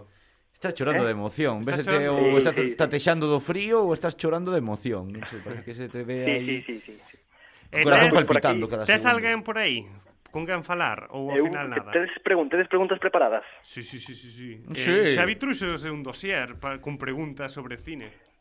[SPEAKER 2] Estás chorando
[SPEAKER 6] Eh?
[SPEAKER 2] de emoción.
[SPEAKER 1] Estás
[SPEAKER 2] Ves te,
[SPEAKER 1] chorando.
[SPEAKER 2] ou
[SPEAKER 6] Sí,
[SPEAKER 2] estás
[SPEAKER 6] sí, sí.
[SPEAKER 2] tatexando do frío ou estás chorando de emoción. Non sei, parece que se te ve
[SPEAKER 6] Sí,
[SPEAKER 2] aí.
[SPEAKER 6] sí, sí, sí. sí.
[SPEAKER 2] O corazón
[SPEAKER 1] tes-
[SPEAKER 2] palpitando cada
[SPEAKER 1] Tes
[SPEAKER 2] segundo.
[SPEAKER 1] alguén por aí? Con quen falar? Ou ao
[SPEAKER 6] Eu,
[SPEAKER 1] final nada?
[SPEAKER 6] tedes, pregun tedes preguntas preparadas?
[SPEAKER 1] Sí, sí, sí, sí, sí.
[SPEAKER 2] Sí.
[SPEAKER 1] Eh, Xavi Truxo é un dossier pa, con preguntas sobre cine.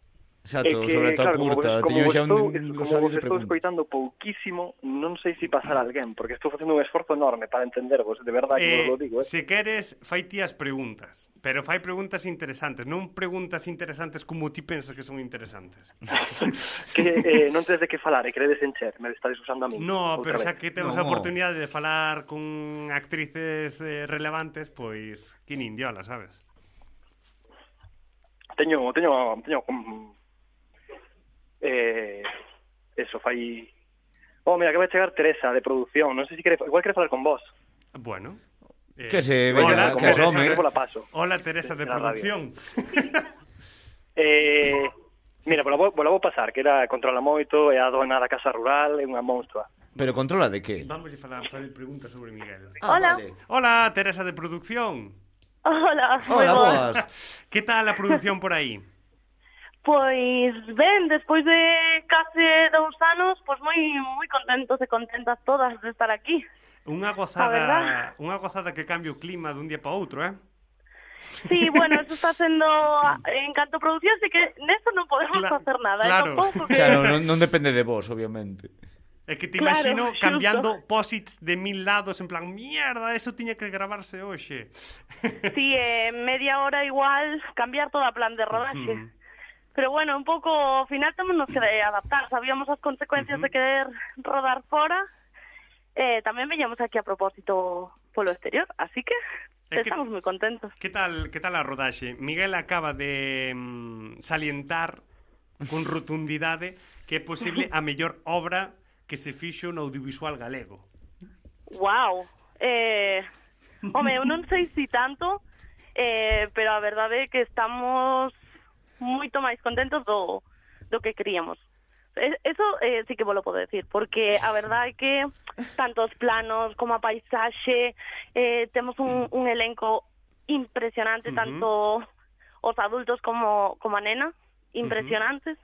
[SPEAKER 2] Exacto, sobre a tua curta.
[SPEAKER 6] como
[SPEAKER 2] Teño
[SPEAKER 6] vos,
[SPEAKER 2] xa
[SPEAKER 6] como
[SPEAKER 2] un, un
[SPEAKER 6] vos estou, como
[SPEAKER 2] rosario
[SPEAKER 6] vos
[SPEAKER 2] de
[SPEAKER 6] estou
[SPEAKER 2] preguntas.
[SPEAKER 6] escoitando pouquísimo, non sei se pasará alguén, porque estou facendo un esforzo enorme para entendervos, de verdade que vos lo digo, eh.
[SPEAKER 1] Se queres, fai ti as preguntas. Pero fai preguntas interesantes. Non preguntas interesantes como ti pensas que son interesantes.
[SPEAKER 6] que eh, non tedes de que falar e queredes encher, me estades usando a mí.
[SPEAKER 1] No, pero
[SPEAKER 6] outra
[SPEAKER 1] xa
[SPEAKER 6] vez.
[SPEAKER 1] que temos a
[SPEAKER 2] No.
[SPEAKER 1] oportunidade de falar con actrices eh, relevantes, pois, que nin diola, sabes?
[SPEAKER 6] Teño, teño, teño... com- Eh, eso, fai... Oh, mira, que vai chegar Teresa, de produción. Non sei se quere... Igual quere falar con vos.
[SPEAKER 1] Bueno. Eh,
[SPEAKER 2] Que se veña,
[SPEAKER 6] Igual quere falar
[SPEAKER 2] que
[SPEAKER 6] con vos,
[SPEAKER 2] asome. eh.
[SPEAKER 6] se quere pola paso.
[SPEAKER 1] Hola, Teresa de
[SPEAKER 6] La radio.
[SPEAKER 1] producción.
[SPEAKER 6] Eh, mira, pola vou, pola vou pasar, que era controla moito, é a dona da casa rural, é unha monstrua.
[SPEAKER 2] Pero controla de que?
[SPEAKER 1] Vamos a falar, fazer preguntas sobre Miguel.
[SPEAKER 2] Ah, Hola. Vale.
[SPEAKER 1] Hola, Teresa de producción.
[SPEAKER 7] Hola, moi
[SPEAKER 2] Hola,
[SPEAKER 7] boas.
[SPEAKER 2] boas.
[SPEAKER 1] Que tal a produción por aí?
[SPEAKER 7] Pois ben, despois Pues de case dous anos, pois moi moi pues contentos e contentas todas de estar aquí.
[SPEAKER 1] Unha
[SPEAKER 7] verdad.
[SPEAKER 1] gozada, unha gozada que cambie o clima dun día para outro, eh?
[SPEAKER 7] Sí, bueno, eso está sendo en canto producción, así que nesto non podemos
[SPEAKER 1] Cla-
[SPEAKER 7] facer nada, ¿eh?
[SPEAKER 1] claro.
[SPEAKER 7] é pouco que
[SPEAKER 2] Claro, non, non depende de vos, obviamente.
[SPEAKER 1] É que te
[SPEAKER 7] Claro,
[SPEAKER 1] imagino
[SPEAKER 7] xusto.
[SPEAKER 1] cambiando posits de mil lados en plan, mierda, eso tiña que gravarse hoxe.
[SPEAKER 7] sí, eh, media hora igual cambiar toda a plan de rodaxe.
[SPEAKER 1] Ujú.
[SPEAKER 7] Pero bueno, un pouco, ao final temos nos que adaptar, sabíamos as consecuencias de querer rodar fora, eh, tamén veñamos aquí a propósito polo exterior, así que
[SPEAKER 1] É que-
[SPEAKER 7] estamos moi contentos.
[SPEAKER 1] Que tal, que tal a rodaxe? Miguel acaba de mm, salientar con rotundidade que é posible a mellor obra que se fixo no audiovisual galego.
[SPEAKER 7] Wow. Eh, home, eu non sei si tanto, eh, pero a verdade é que estamos moito máis contentos do, do que queríamos. E- Eso eh, sí que volo podo decir, porque a verdade é que tantos planos como a paisaxe, eh, temos un, un elenco impresionante,
[SPEAKER 1] Ujú.
[SPEAKER 7] tanto os adultos como, como a nena, impresionantes.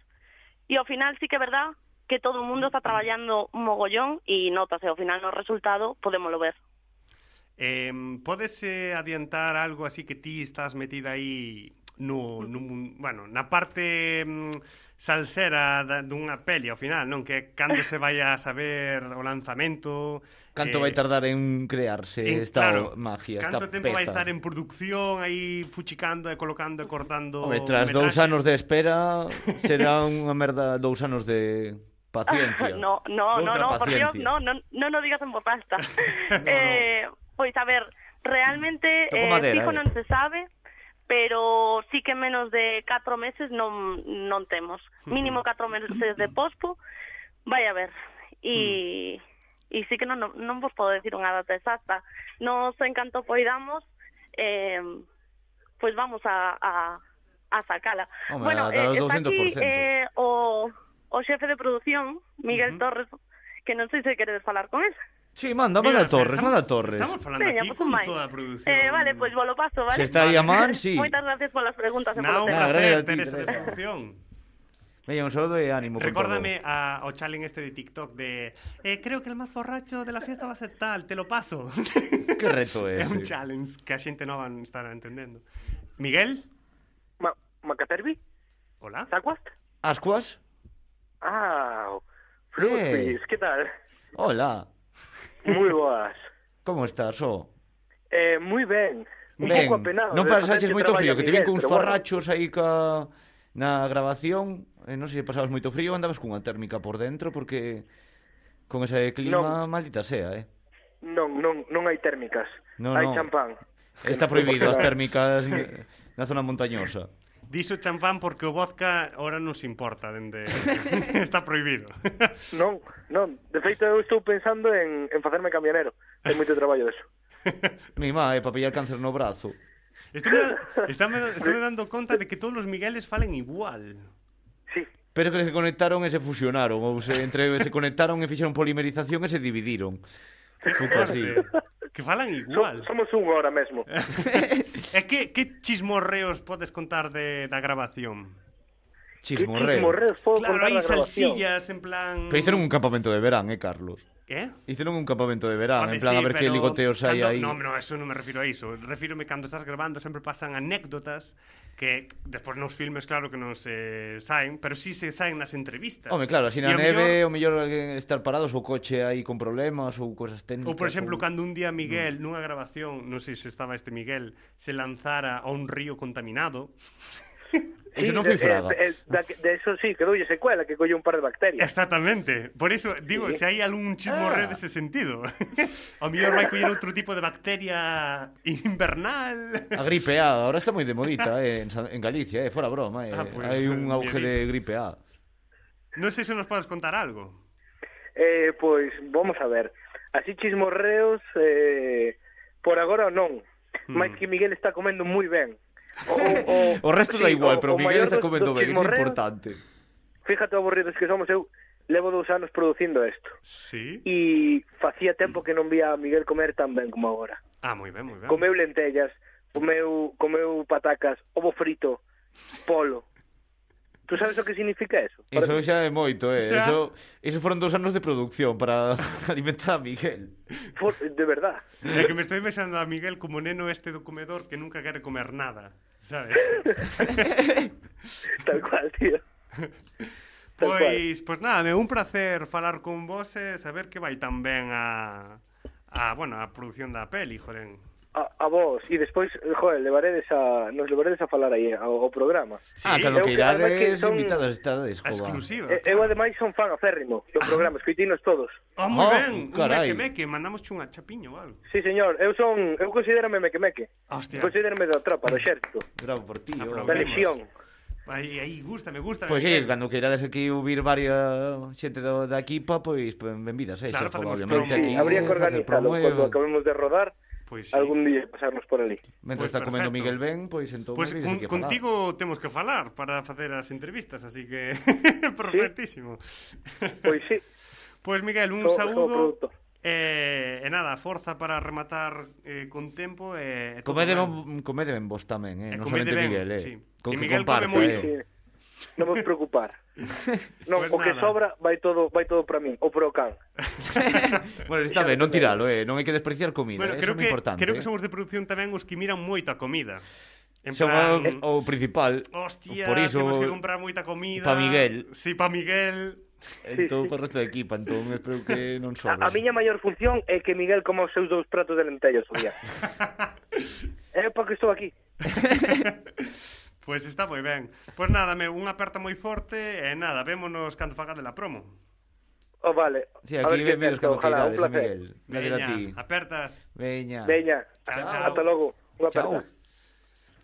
[SPEAKER 7] E ao final sí que é verdad que todo o mundo está traballando un mogollón e notase ao final no resultado podemoslo ver.
[SPEAKER 1] Eh, podes eh, adiantar algo así que ti estás metida aí no, no, mun- bueno, na parte mm, salsera da, dunha peli ao final, non? Que é cando se vai a saber o lanzamento
[SPEAKER 2] Canto
[SPEAKER 1] eh,
[SPEAKER 2] vai tardar en crearse
[SPEAKER 1] en-
[SPEAKER 2] esta
[SPEAKER 1] claro,
[SPEAKER 2] magia, esta
[SPEAKER 1] Canto tempo
[SPEAKER 2] peza.
[SPEAKER 1] vai estar en producción aí fuchicando e colocando e cortando
[SPEAKER 2] Home, tras dous
[SPEAKER 1] metraxe?
[SPEAKER 2] anos de espera, será unha merda dous anos de paciencia.
[SPEAKER 7] No, no,
[SPEAKER 2] Outra
[SPEAKER 7] no, no, por Dios,
[SPEAKER 2] paciencia.
[SPEAKER 7] no, no, no no digas en voz alta. eh, pois a ver, realmente
[SPEAKER 2] Toco
[SPEAKER 7] eh,
[SPEAKER 2] madera,
[SPEAKER 7] fijo
[SPEAKER 2] eh.
[SPEAKER 7] non se sabe, pero sí que menos de 4 meses non non temos. Mínimo 4 meses de pospo. Vai a ver.
[SPEAKER 2] Hmm.
[SPEAKER 7] E e sí que non non- non vos podo decir unha data exacta. Nos encanto poidamos eh pois vamos a a a sacala.
[SPEAKER 2] Home,
[SPEAKER 7] bueno,
[SPEAKER 2] a dar o
[SPEAKER 7] eh, está aquí
[SPEAKER 2] 200%.
[SPEAKER 7] eh, o o xefe de produción, Miguel
[SPEAKER 1] Ujú.
[SPEAKER 7] Torres, que non sei se queredes falar con él.
[SPEAKER 2] Sí, manda,
[SPEAKER 1] Mira,
[SPEAKER 2] manda a Torres,
[SPEAKER 1] estamos-
[SPEAKER 2] manda a Torres.
[SPEAKER 1] Estamos falando
[SPEAKER 7] Veña,
[SPEAKER 1] aquí
[SPEAKER 7] pues,
[SPEAKER 1] con
[SPEAKER 7] un pois máis.
[SPEAKER 1] toda a producción.
[SPEAKER 7] Eh, vale, pois volo paso, vale?
[SPEAKER 2] Se está aí a man, sí.
[SPEAKER 7] Moitas gracias polas preguntas e
[SPEAKER 1] Nada, un
[SPEAKER 7] polo tema.
[SPEAKER 2] Nada, gracias
[SPEAKER 1] placer
[SPEAKER 2] a ti,
[SPEAKER 1] ter esa de
[SPEAKER 2] Teresa.
[SPEAKER 1] producción.
[SPEAKER 2] Veña, un saludo e ánimo. con
[SPEAKER 1] Recórdame a, ao challenge este de TikTok de eh, creo que el más borracho de la fiesta va a ser tal, te lo paso.
[SPEAKER 2] todo. Que reto eh.
[SPEAKER 1] é
[SPEAKER 2] é
[SPEAKER 1] un
[SPEAKER 2] ese?
[SPEAKER 1] challenge que a xente nova non estará entendendo. Miguel?
[SPEAKER 6] Ma, Macaterbi?
[SPEAKER 1] Hola.
[SPEAKER 6] Saguas?
[SPEAKER 2] Ascuas?
[SPEAKER 6] Ah,
[SPEAKER 2] Eh.
[SPEAKER 6] Frutis, que tal?
[SPEAKER 2] Hola.
[SPEAKER 6] Moi boas.
[SPEAKER 2] Como estás, Oh, ó?
[SPEAKER 6] Eh, moi ben. Un
[SPEAKER 2] Ben,
[SPEAKER 6] pouco apenado.
[SPEAKER 2] non
[SPEAKER 6] de
[SPEAKER 2] pasaches
[SPEAKER 6] facerche
[SPEAKER 2] moito
[SPEAKER 6] traballo
[SPEAKER 2] frío,
[SPEAKER 6] a
[SPEAKER 2] que te vin
[SPEAKER 6] Miguel,
[SPEAKER 2] cuns
[SPEAKER 6] pero bueno.
[SPEAKER 2] farrachos aí ca na grabación, e non sei se pasabas moito frío, andabas cunha térmica por dentro porque con ese clima maldita sea, eh.
[SPEAKER 6] Non, non, non hai térmicas.
[SPEAKER 2] Non,
[SPEAKER 6] hai
[SPEAKER 2] non.
[SPEAKER 6] champán.
[SPEAKER 2] Está prohibido as térmicas eh, na zona montañosa.
[SPEAKER 1] Dixo champán porque o vodka ahora non se importa dende está prohibido.
[SPEAKER 6] Non, non. De feito, eu estou pensando en, en facerme camionero. Ten moito traballo deso.
[SPEAKER 2] Mi má é para pillar cáncer no brazo.
[SPEAKER 1] Estou me, estou me, estou me dando conta de que todos os Migueles falen igual.
[SPEAKER 6] Sí,
[SPEAKER 2] Pero que se conectaron e se fusionaron, ou se entre se conectaron e fixeron polimerización e se dividiron. Foi así.
[SPEAKER 1] Que falan
[SPEAKER 6] so,
[SPEAKER 1] igual.
[SPEAKER 6] somos un ahora mesmo.
[SPEAKER 2] Eh,
[SPEAKER 1] E que, que chismorreos podes contar de, da grabación?
[SPEAKER 6] Que
[SPEAKER 2] Chismorreo.
[SPEAKER 6] chismorreos podo
[SPEAKER 1] Claro,
[SPEAKER 6] contar
[SPEAKER 1] hai
[SPEAKER 6] na grabación?
[SPEAKER 1] salsillas en plan...
[SPEAKER 2] Pero hicieron un campamento de verán, eh, Carlos.
[SPEAKER 1] Que?
[SPEAKER 2] Hicieron un campamento de verán,
[SPEAKER 1] Home,
[SPEAKER 2] en plan
[SPEAKER 1] sí,
[SPEAKER 2] a ver que
[SPEAKER 1] pero
[SPEAKER 2] ligoteos hai
[SPEAKER 1] cando-
[SPEAKER 2] aí.
[SPEAKER 1] No, no, eso non me refiro a iso. Refírome cando estás grabando sempre pasan anécdotas que despois nos filmes claro que non se saen, pero sí se saen nas entrevistas.
[SPEAKER 2] Home, claro, así
[SPEAKER 1] E
[SPEAKER 2] na
[SPEAKER 1] ao
[SPEAKER 2] neve,
[SPEAKER 1] mellor-
[SPEAKER 2] o mellor alguén estar parados o coche aí con problemas ou cosas técnicas.
[SPEAKER 1] Ou, por exemplo, cando un
[SPEAKER 2] Mm.
[SPEAKER 1] día Miguel, nunha grabación, non sei se estaba este Miguel, se lanzara a un río contaminado,
[SPEAKER 2] Ese
[SPEAKER 6] Sí,
[SPEAKER 2] non foi
[SPEAKER 6] eh,
[SPEAKER 2] fraga.
[SPEAKER 6] eh, da, que- de eso sí, que doulle secuela, que colle un par de bacterias.
[SPEAKER 1] Exactamente. Por eso digo,
[SPEAKER 6] Sí.
[SPEAKER 1] se hai algún chismorreo ah. dese sentido. Ao mellor vai coller outro tipo de bacteria invernal.
[SPEAKER 2] A gripe A, ahora está moi de modita eh, en, Sa- en Galicia, eh, fora broma. Eh,
[SPEAKER 1] Ah, pois,
[SPEAKER 2] hai un
[SPEAKER 1] eh,
[SPEAKER 2] auge de
[SPEAKER 1] miedito.
[SPEAKER 2] gripe A.
[SPEAKER 1] Non sei se nos podes contar algo.
[SPEAKER 6] Eh, pois, vamos a ver. Así chismorreos, eh, por agora non. Mais que Miguel está comendo moi ben. O,
[SPEAKER 2] Mm. O resto
[SPEAKER 6] sí,
[SPEAKER 2] da igual,
[SPEAKER 6] o-
[SPEAKER 2] pero
[SPEAKER 6] o
[SPEAKER 2] Miguel
[SPEAKER 6] maior
[SPEAKER 2] está
[SPEAKER 6] dos-
[SPEAKER 2] comendo
[SPEAKER 6] dos
[SPEAKER 2] ben, iso é
[SPEAKER 6] chismorreos,
[SPEAKER 2] importante.
[SPEAKER 6] Fíjate o aburridos que somos, eu levo dous anos producindo isto.
[SPEAKER 1] Sí.
[SPEAKER 6] E facía tempo que non vía a Miguel comer tan ben como agora.
[SPEAKER 1] Ah, moi ben, moi ben.
[SPEAKER 6] Comeu lentellas, comeu, comeu patacas, ovo frito, polo. Tú sabes o que significa eso?
[SPEAKER 2] Iso
[SPEAKER 6] Para-
[SPEAKER 2] xa é moito, eh.
[SPEAKER 1] Xa.
[SPEAKER 2] Iso, iso foron dous anos de producción para alimentar a Miguel.
[SPEAKER 6] for- de verdad.
[SPEAKER 1] É que me estoy pensando a Miguel como neno este do comedor que nunca quere comer nada, sabes?
[SPEAKER 6] Tal cual, tío. Tal cual.
[SPEAKER 1] Pois, pois nada, é un placer falar con vos e saber que vai tan ben a a, bueno, a produción da peli, joren.
[SPEAKER 6] A, a vos. E despois, eh, joder, levaredes a, nos levaredes a falar aí eh, ao, ao programa.
[SPEAKER 1] Sí,
[SPEAKER 2] ah, cando
[SPEAKER 6] eu
[SPEAKER 2] que
[SPEAKER 6] creo, además, que
[SPEAKER 2] irades,
[SPEAKER 6] son-
[SPEAKER 2] invitados estades,
[SPEAKER 1] A
[SPEAKER 2] jova.
[SPEAKER 1] exclusiva.
[SPEAKER 2] Eh,
[SPEAKER 6] E, Eh, eu, ademais, son fan aférrimo do programa, escoitinos todos.
[SPEAKER 1] Ah, moi
[SPEAKER 2] Oh,
[SPEAKER 1] ben, un
[SPEAKER 2] carai.
[SPEAKER 1] meque meque, mandamos chunha chapiño ou algo.
[SPEAKER 6] Sí, señor, eu son, eu considérame mequemeque.
[SPEAKER 1] Hostia.
[SPEAKER 6] Considérame da tropa, do exército,
[SPEAKER 2] Bravo por ti, oh.
[SPEAKER 6] da
[SPEAKER 1] Vemos.
[SPEAKER 6] lexión.
[SPEAKER 1] Aí, aí, gusta, me gusta.
[SPEAKER 2] Pois sí, cando queirades aquí ouvir varias xente do, da equipa, pois pues, benvidas, eh,
[SPEAKER 1] Claro,
[SPEAKER 2] xa,
[SPEAKER 1] facemos
[SPEAKER 2] obviamente
[SPEAKER 1] promo.
[SPEAKER 2] aquí.
[SPEAKER 6] Sí, habría que
[SPEAKER 2] facer
[SPEAKER 6] organizarlo
[SPEAKER 2] promo e-
[SPEAKER 6] cando acabemos de rodar,
[SPEAKER 1] Pois sí.
[SPEAKER 6] algún día pasarnos por ali.
[SPEAKER 2] Mentre
[SPEAKER 1] Pois
[SPEAKER 2] está comendo
[SPEAKER 1] perfecto.
[SPEAKER 2] Miguel ben, pois entón
[SPEAKER 1] Pois
[SPEAKER 2] me dices
[SPEAKER 1] con,
[SPEAKER 2] que falar.
[SPEAKER 1] contigo temos que falar para facer as entrevistas, así que perfectísimo.
[SPEAKER 6] Pois sí,
[SPEAKER 1] Pois Miguel, un
[SPEAKER 6] Todo- todo
[SPEAKER 1] saúdo.
[SPEAKER 6] produto.
[SPEAKER 1] E, e nada, forza para rematar eh, con tempo e, e todo
[SPEAKER 2] Comede
[SPEAKER 1] ben.
[SPEAKER 2] ben, comede ben vos tamén, eh,
[SPEAKER 1] Eh,
[SPEAKER 2] non
[SPEAKER 1] comede
[SPEAKER 2] somente
[SPEAKER 1] ben,
[SPEAKER 2] Miguel, eh.
[SPEAKER 1] sí. E
[SPEAKER 2] Con que
[SPEAKER 1] Miguel come
[SPEAKER 2] comparta,
[SPEAKER 1] moito.
[SPEAKER 2] eh.
[SPEAKER 6] pois sí. non vos preocupar. Non,
[SPEAKER 1] Pues
[SPEAKER 6] o que
[SPEAKER 1] nada.
[SPEAKER 6] sobra vai todo vai todo para min, o pro can.
[SPEAKER 2] bueno, está ben, non tiralo, eh. Non hai que despreciar comida,
[SPEAKER 1] Bueno,
[SPEAKER 2] eh,
[SPEAKER 1] creo
[SPEAKER 2] eso é moi
[SPEAKER 1] que,
[SPEAKER 2] importante.
[SPEAKER 1] creo que
[SPEAKER 2] eh.
[SPEAKER 1] somos de produción tamén os que miran moito a comida. En
[SPEAKER 2] Son
[SPEAKER 1] plan, oh,
[SPEAKER 2] o, o principal.
[SPEAKER 1] hostia,
[SPEAKER 2] por iso
[SPEAKER 1] temos que comprar moita comida.
[SPEAKER 2] pa Miguel.
[SPEAKER 1] Sí, pa Miguel.
[SPEAKER 2] entón para o resto da equipa, entón espero que non sobres.
[SPEAKER 6] A, a miña maior función é que Miguel coma os seus dous pratos de lentellas o día. é para que estou aquí.
[SPEAKER 1] Pois está moi ben. Pois nada, meu, unha aperta moi forte e nada, vémonos cando faga de la promo.
[SPEAKER 6] Oh, vale.
[SPEAKER 2] Sí,
[SPEAKER 6] A
[SPEAKER 2] aquí
[SPEAKER 6] ver que
[SPEAKER 2] ben vídeos
[SPEAKER 6] tal,
[SPEAKER 2] cando
[SPEAKER 6] ojalá, un
[SPEAKER 2] queirades, eh,
[SPEAKER 6] placer.
[SPEAKER 2] Miguel. Gracias a ti.
[SPEAKER 1] apertas.
[SPEAKER 2] Veña.
[SPEAKER 6] Veña,
[SPEAKER 1] Chao, chao.
[SPEAKER 6] hasta logo. Unha
[SPEAKER 2] Chao.
[SPEAKER 6] aperta.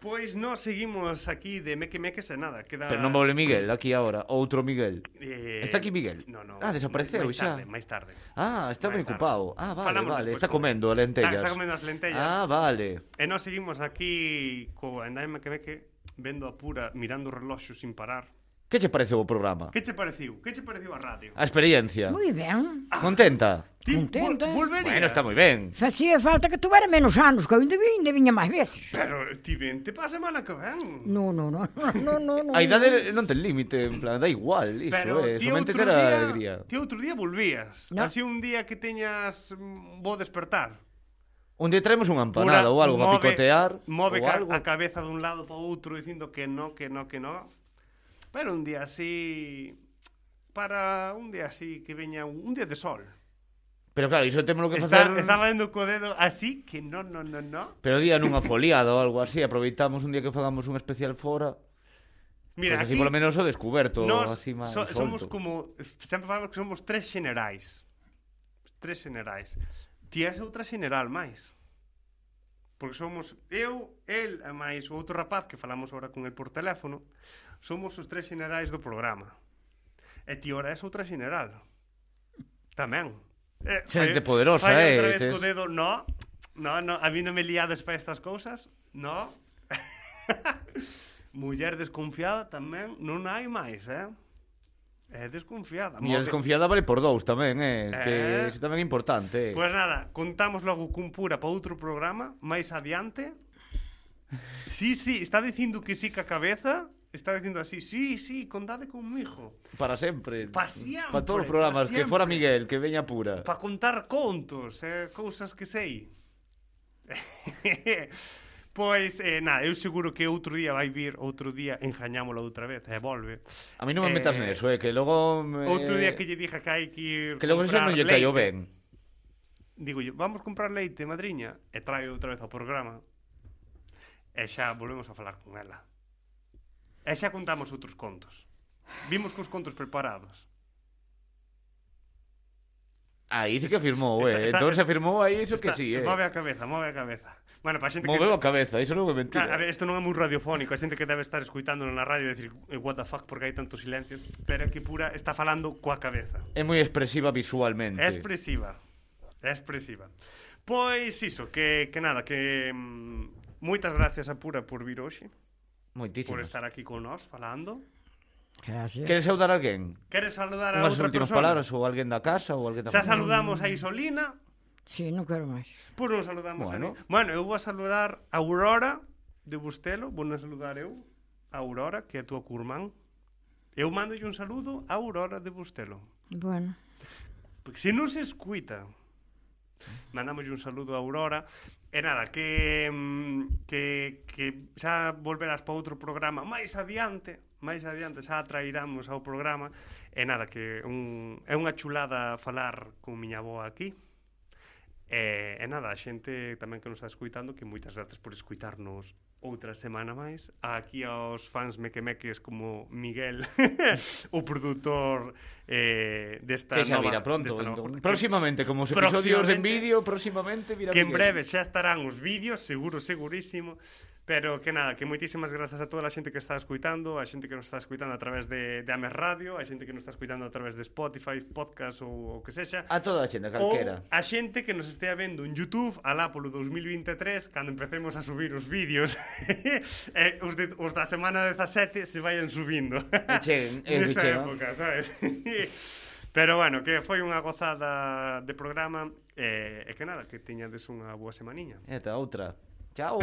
[SPEAKER 1] Pois nos seguimos aquí de Meque Meques e nada, queda...
[SPEAKER 2] Pero non vole Miguel aquí agora, outro Miguel.
[SPEAKER 1] Eh,
[SPEAKER 2] Está aquí Miguel?
[SPEAKER 1] No, no,
[SPEAKER 2] Ah, desapareceu
[SPEAKER 1] máis
[SPEAKER 2] xa.
[SPEAKER 1] tarde, máis tarde.
[SPEAKER 2] Ah, está
[SPEAKER 1] Máis
[SPEAKER 2] ben
[SPEAKER 1] tarde.
[SPEAKER 2] ocupado. Ah, vale,
[SPEAKER 1] Falamos
[SPEAKER 2] vale,
[SPEAKER 1] despois
[SPEAKER 2] está
[SPEAKER 1] con él.
[SPEAKER 2] comendo lentellas.
[SPEAKER 1] Está, está comendo as lentellas.
[SPEAKER 2] Ah, vale.
[SPEAKER 1] E nós seguimos aquí co Andai Meque Meque vendo a pura, mirando o reloxo sin parar.
[SPEAKER 2] Que che pareceu o programa?
[SPEAKER 1] Que che pareciu? Que che pareciu a radio?
[SPEAKER 2] A experiencia.
[SPEAKER 3] Moi ben.
[SPEAKER 2] Contenta?
[SPEAKER 1] Ti vol
[SPEAKER 3] contenta.
[SPEAKER 1] volverías?
[SPEAKER 2] Bueno, está moi ben.
[SPEAKER 3] Facía falta que tuvera menos anos, que eu ainda vin, ainda viña máis veces.
[SPEAKER 1] Pero ti ven, te pasa mal a que ven.
[SPEAKER 3] No, no, no, no, no, no.
[SPEAKER 2] A idade non ten límite, en plan, da igual, iso,
[SPEAKER 1] Pero
[SPEAKER 2] eh,
[SPEAKER 1] ti
[SPEAKER 2] somente
[SPEAKER 1] outro
[SPEAKER 2] ter
[SPEAKER 1] día,
[SPEAKER 2] a alegría.
[SPEAKER 1] Ti outro día volvías.
[SPEAKER 3] No.
[SPEAKER 1] Así un día que teñas mm, bo despertar.
[SPEAKER 2] Un día traemos unha empanada ou algo para
[SPEAKER 1] move-
[SPEAKER 2] picotear
[SPEAKER 1] Move
[SPEAKER 2] ou
[SPEAKER 1] ca-
[SPEAKER 2] algo.
[SPEAKER 1] a cabeza dun lado para outro dicindo que no, que no, que no. Pero un día así para un día así que veña un, un día de sol.
[SPEAKER 2] Pero claro, iso temos que
[SPEAKER 1] Está,
[SPEAKER 2] facer...
[SPEAKER 1] está valendo co dedo así que no, no, no, no.
[SPEAKER 2] Pero día nunha foliada ou algo así, aproveitamos un día que fagamos un especial fora.
[SPEAKER 1] Mira,
[SPEAKER 2] pues
[SPEAKER 1] aquí
[SPEAKER 2] así polo menos o descuberto,
[SPEAKER 1] nós
[SPEAKER 2] así máis
[SPEAKER 1] so, somos
[SPEAKER 2] solto.
[SPEAKER 1] como sempre falamos que somos tres generais. Tres generais. Ti és outra general máis. Porque somos eu, el, e máis o outro rapaz que falamos agora con el por teléfono, somos os tres generais do programa. E ti ora és outra general. Tamén. Eh,
[SPEAKER 2] Xente
[SPEAKER 1] fai-
[SPEAKER 2] poderosa,
[SPEAKER 1] fai
[SPEAKER 2] eh,
[SPEAKER 1] outra vez
[SPEAKER 2] tes-
[SPEAKER 1] co dedo, no, no, no, a mí non me liades para estas cousas, no. Muller desconfiada tamén non hai máis, eh? É desconfiada.
[SPEAKER 2] Mira,
[SPEAKER 1] Move-
[SPEAKER 2] desconfiada vale por dous tamén, eh, que
[SPEAKER 1] Eh.
[SPEAKER 2] iso tamén é importante. Eh.
[SPEAKER 1] Pois nada, contamos logo cun pura para outro programa máis adiante. Sí, sí, está dicindo que sí ca cabeza, está dicindo así, sí, sí, contade conmigo.
[SPEAKER 2] Para sempre.
[SPEAKER 1] Pa siempre,
[SPEAKER 2] Pa todos os
[SPEAKER 1] pa
[SPEAKER 2] programas, que
[SPEAKER 1] siempre.
[SPEAKER 2] fora Miguel, que veña pura.
[SPEAKER 1] Para contar contos, eh, cousas que sei. pois, eh, nada, eu seguro que outro día vai vir, outro día enjañámola outra vez, e eh, volve.
[SPEAKER 2] A mí non me metas
[SPEAKER 1] Eh,
[SPEAKER 2] neso, eh, que logo... Me...
[SPEAKER 1] Outro día que lle dija que hai que ir
[SPEAKER 2] Que logo xa
[SPEAKER 1] comprar
[SPEAKER 2] non lle
[SPEAKER 1] leite.
[SPEAKER 2] caiu ben.
[SPEAKER 1] Digo yo, vamos comprar leite, madriña, e traio outra vez ao programa. E xa volvemos a falar con ela. E xa contamos outros contos. Vimos cos contos preparados.
[SPEAKER 2] Aí sí que afirmou,
[SPEAKER 1] Está-
[SPEAKER 2] eh.
[SPEAKER 1] está-
[SPEAKER 2] Entón se afirmou aí iso que
[SPEAKER 1] Está-
[SPEAKER 2] sí, eh.
[SPEAKER 1] Move a cabeza, move a cabeza. Bueno, para xente
[SPEAKER 2] Moveu a
[SPEAKER 1] que...
[SPEAKER 2] cabeza, iso non é mentira.
[SPEAKER 1] Claro, a ver, isto non é moi radiofónico, a xente que debe estar escuitándolo na radio e decir "Eh, what the fuck porque hai tanto silencio, pero é que pura está falando coa cabeza.
[SPEAKER 2] É moi expresiva visualmente.
[SPEAKER 1] É expresiva. É expresiva. Pois iso, que, que nada, que... mm, Moitas gracias a Pura por vir hoxe. por
[SPEAKER 2] Moitísimo.
[SPEAKER 1] estar aquí con nós falando.
[SPEAKER 3] Gracias.
[SPEAKER 2] Queres saudar alguén?
[SPEAKER 1] Queres saludar a
[SPEAKER 2] Unhas
[SPEAKER 1] outra
[SPEAKER 2] últimas
[SPEAKER 1] persona?
[SPEAKER 2] palabras ou alguén da casa ou alguén da
[SPEAKER 1] Xa saludamos a Isolina,
[SPEAKER 3] Sí, non quero máis.
[SPEAKER 1] Pois non saludamos
[SPEAKER 2] Bueno.
[SPEAKER 1] bueno. a Bueno, eu vou a saludar a Aurora de Bustelo, vou a saludar eu a Aurora, que é a tua curmán. Eu mando un saludo a Aurora de Bustelo.
[SPEAKER 3] Bueno,
[SPEAKER 1] Porque se non se escuita, mandamos un saludo a Aurora. E nada, que, mm, que, que xa volverás para outro programa máis adiante, máis adiante xa trairamos ao programa. E nada, que un, é unha chulada falar con miña boa aquí. E, e nada, a xente tamén que nos está escuitando, que moitas grazas por escuitarnos outra semana máis. Aquí aos fans mequemeques como Miguel, o produtor eh, desta
[SPEAKER 2] que xa
[SPEAKER 1] nova...
[SPEAKER 2] virá pronto.
[SPEAKER 1] desta nova-
[SPEAKER 2] entón.
[SPEAKER 1] porque-
[SPEAKER 2] Próximamente, como os episodios en
[SPEAKER 1] Próximamente.
[SPEAKER 2] vídeo, próximamente virá
[SPEAKER 1] que en
[SPEAKER 2] Miguel.
[SPEAKER 1] breve xa estarán os vídeos, seguro, segurísimo. Pero que nada, que moitísimas grazas a toda a xente que está escuitando, a xente que nos está escuitando a través de, de Ames Radio, a xente que nos está escuitando a través de Spotify, podcast ou o que sexa.
[SPEAKER 2] A toda a xenda, calquera.
[SPEAKER 1] Ou a xente que nos estea vendo en Youtube alá polo 2023 cando empecemos a subir os vídeos eh, os, de, os da semana 17 se vayan subindo
[SPEAKER 2] E cheguen, e
[SPEAKER 1] nesa
[SPEAKER 2] cheguen.
[SPEAKER 1] época, sabes? pero bueno, que foi unha gozada de programa eh, e que nada, que tiñades unha boa semaniña
[SPEAKER 2] E ata outra. Chao.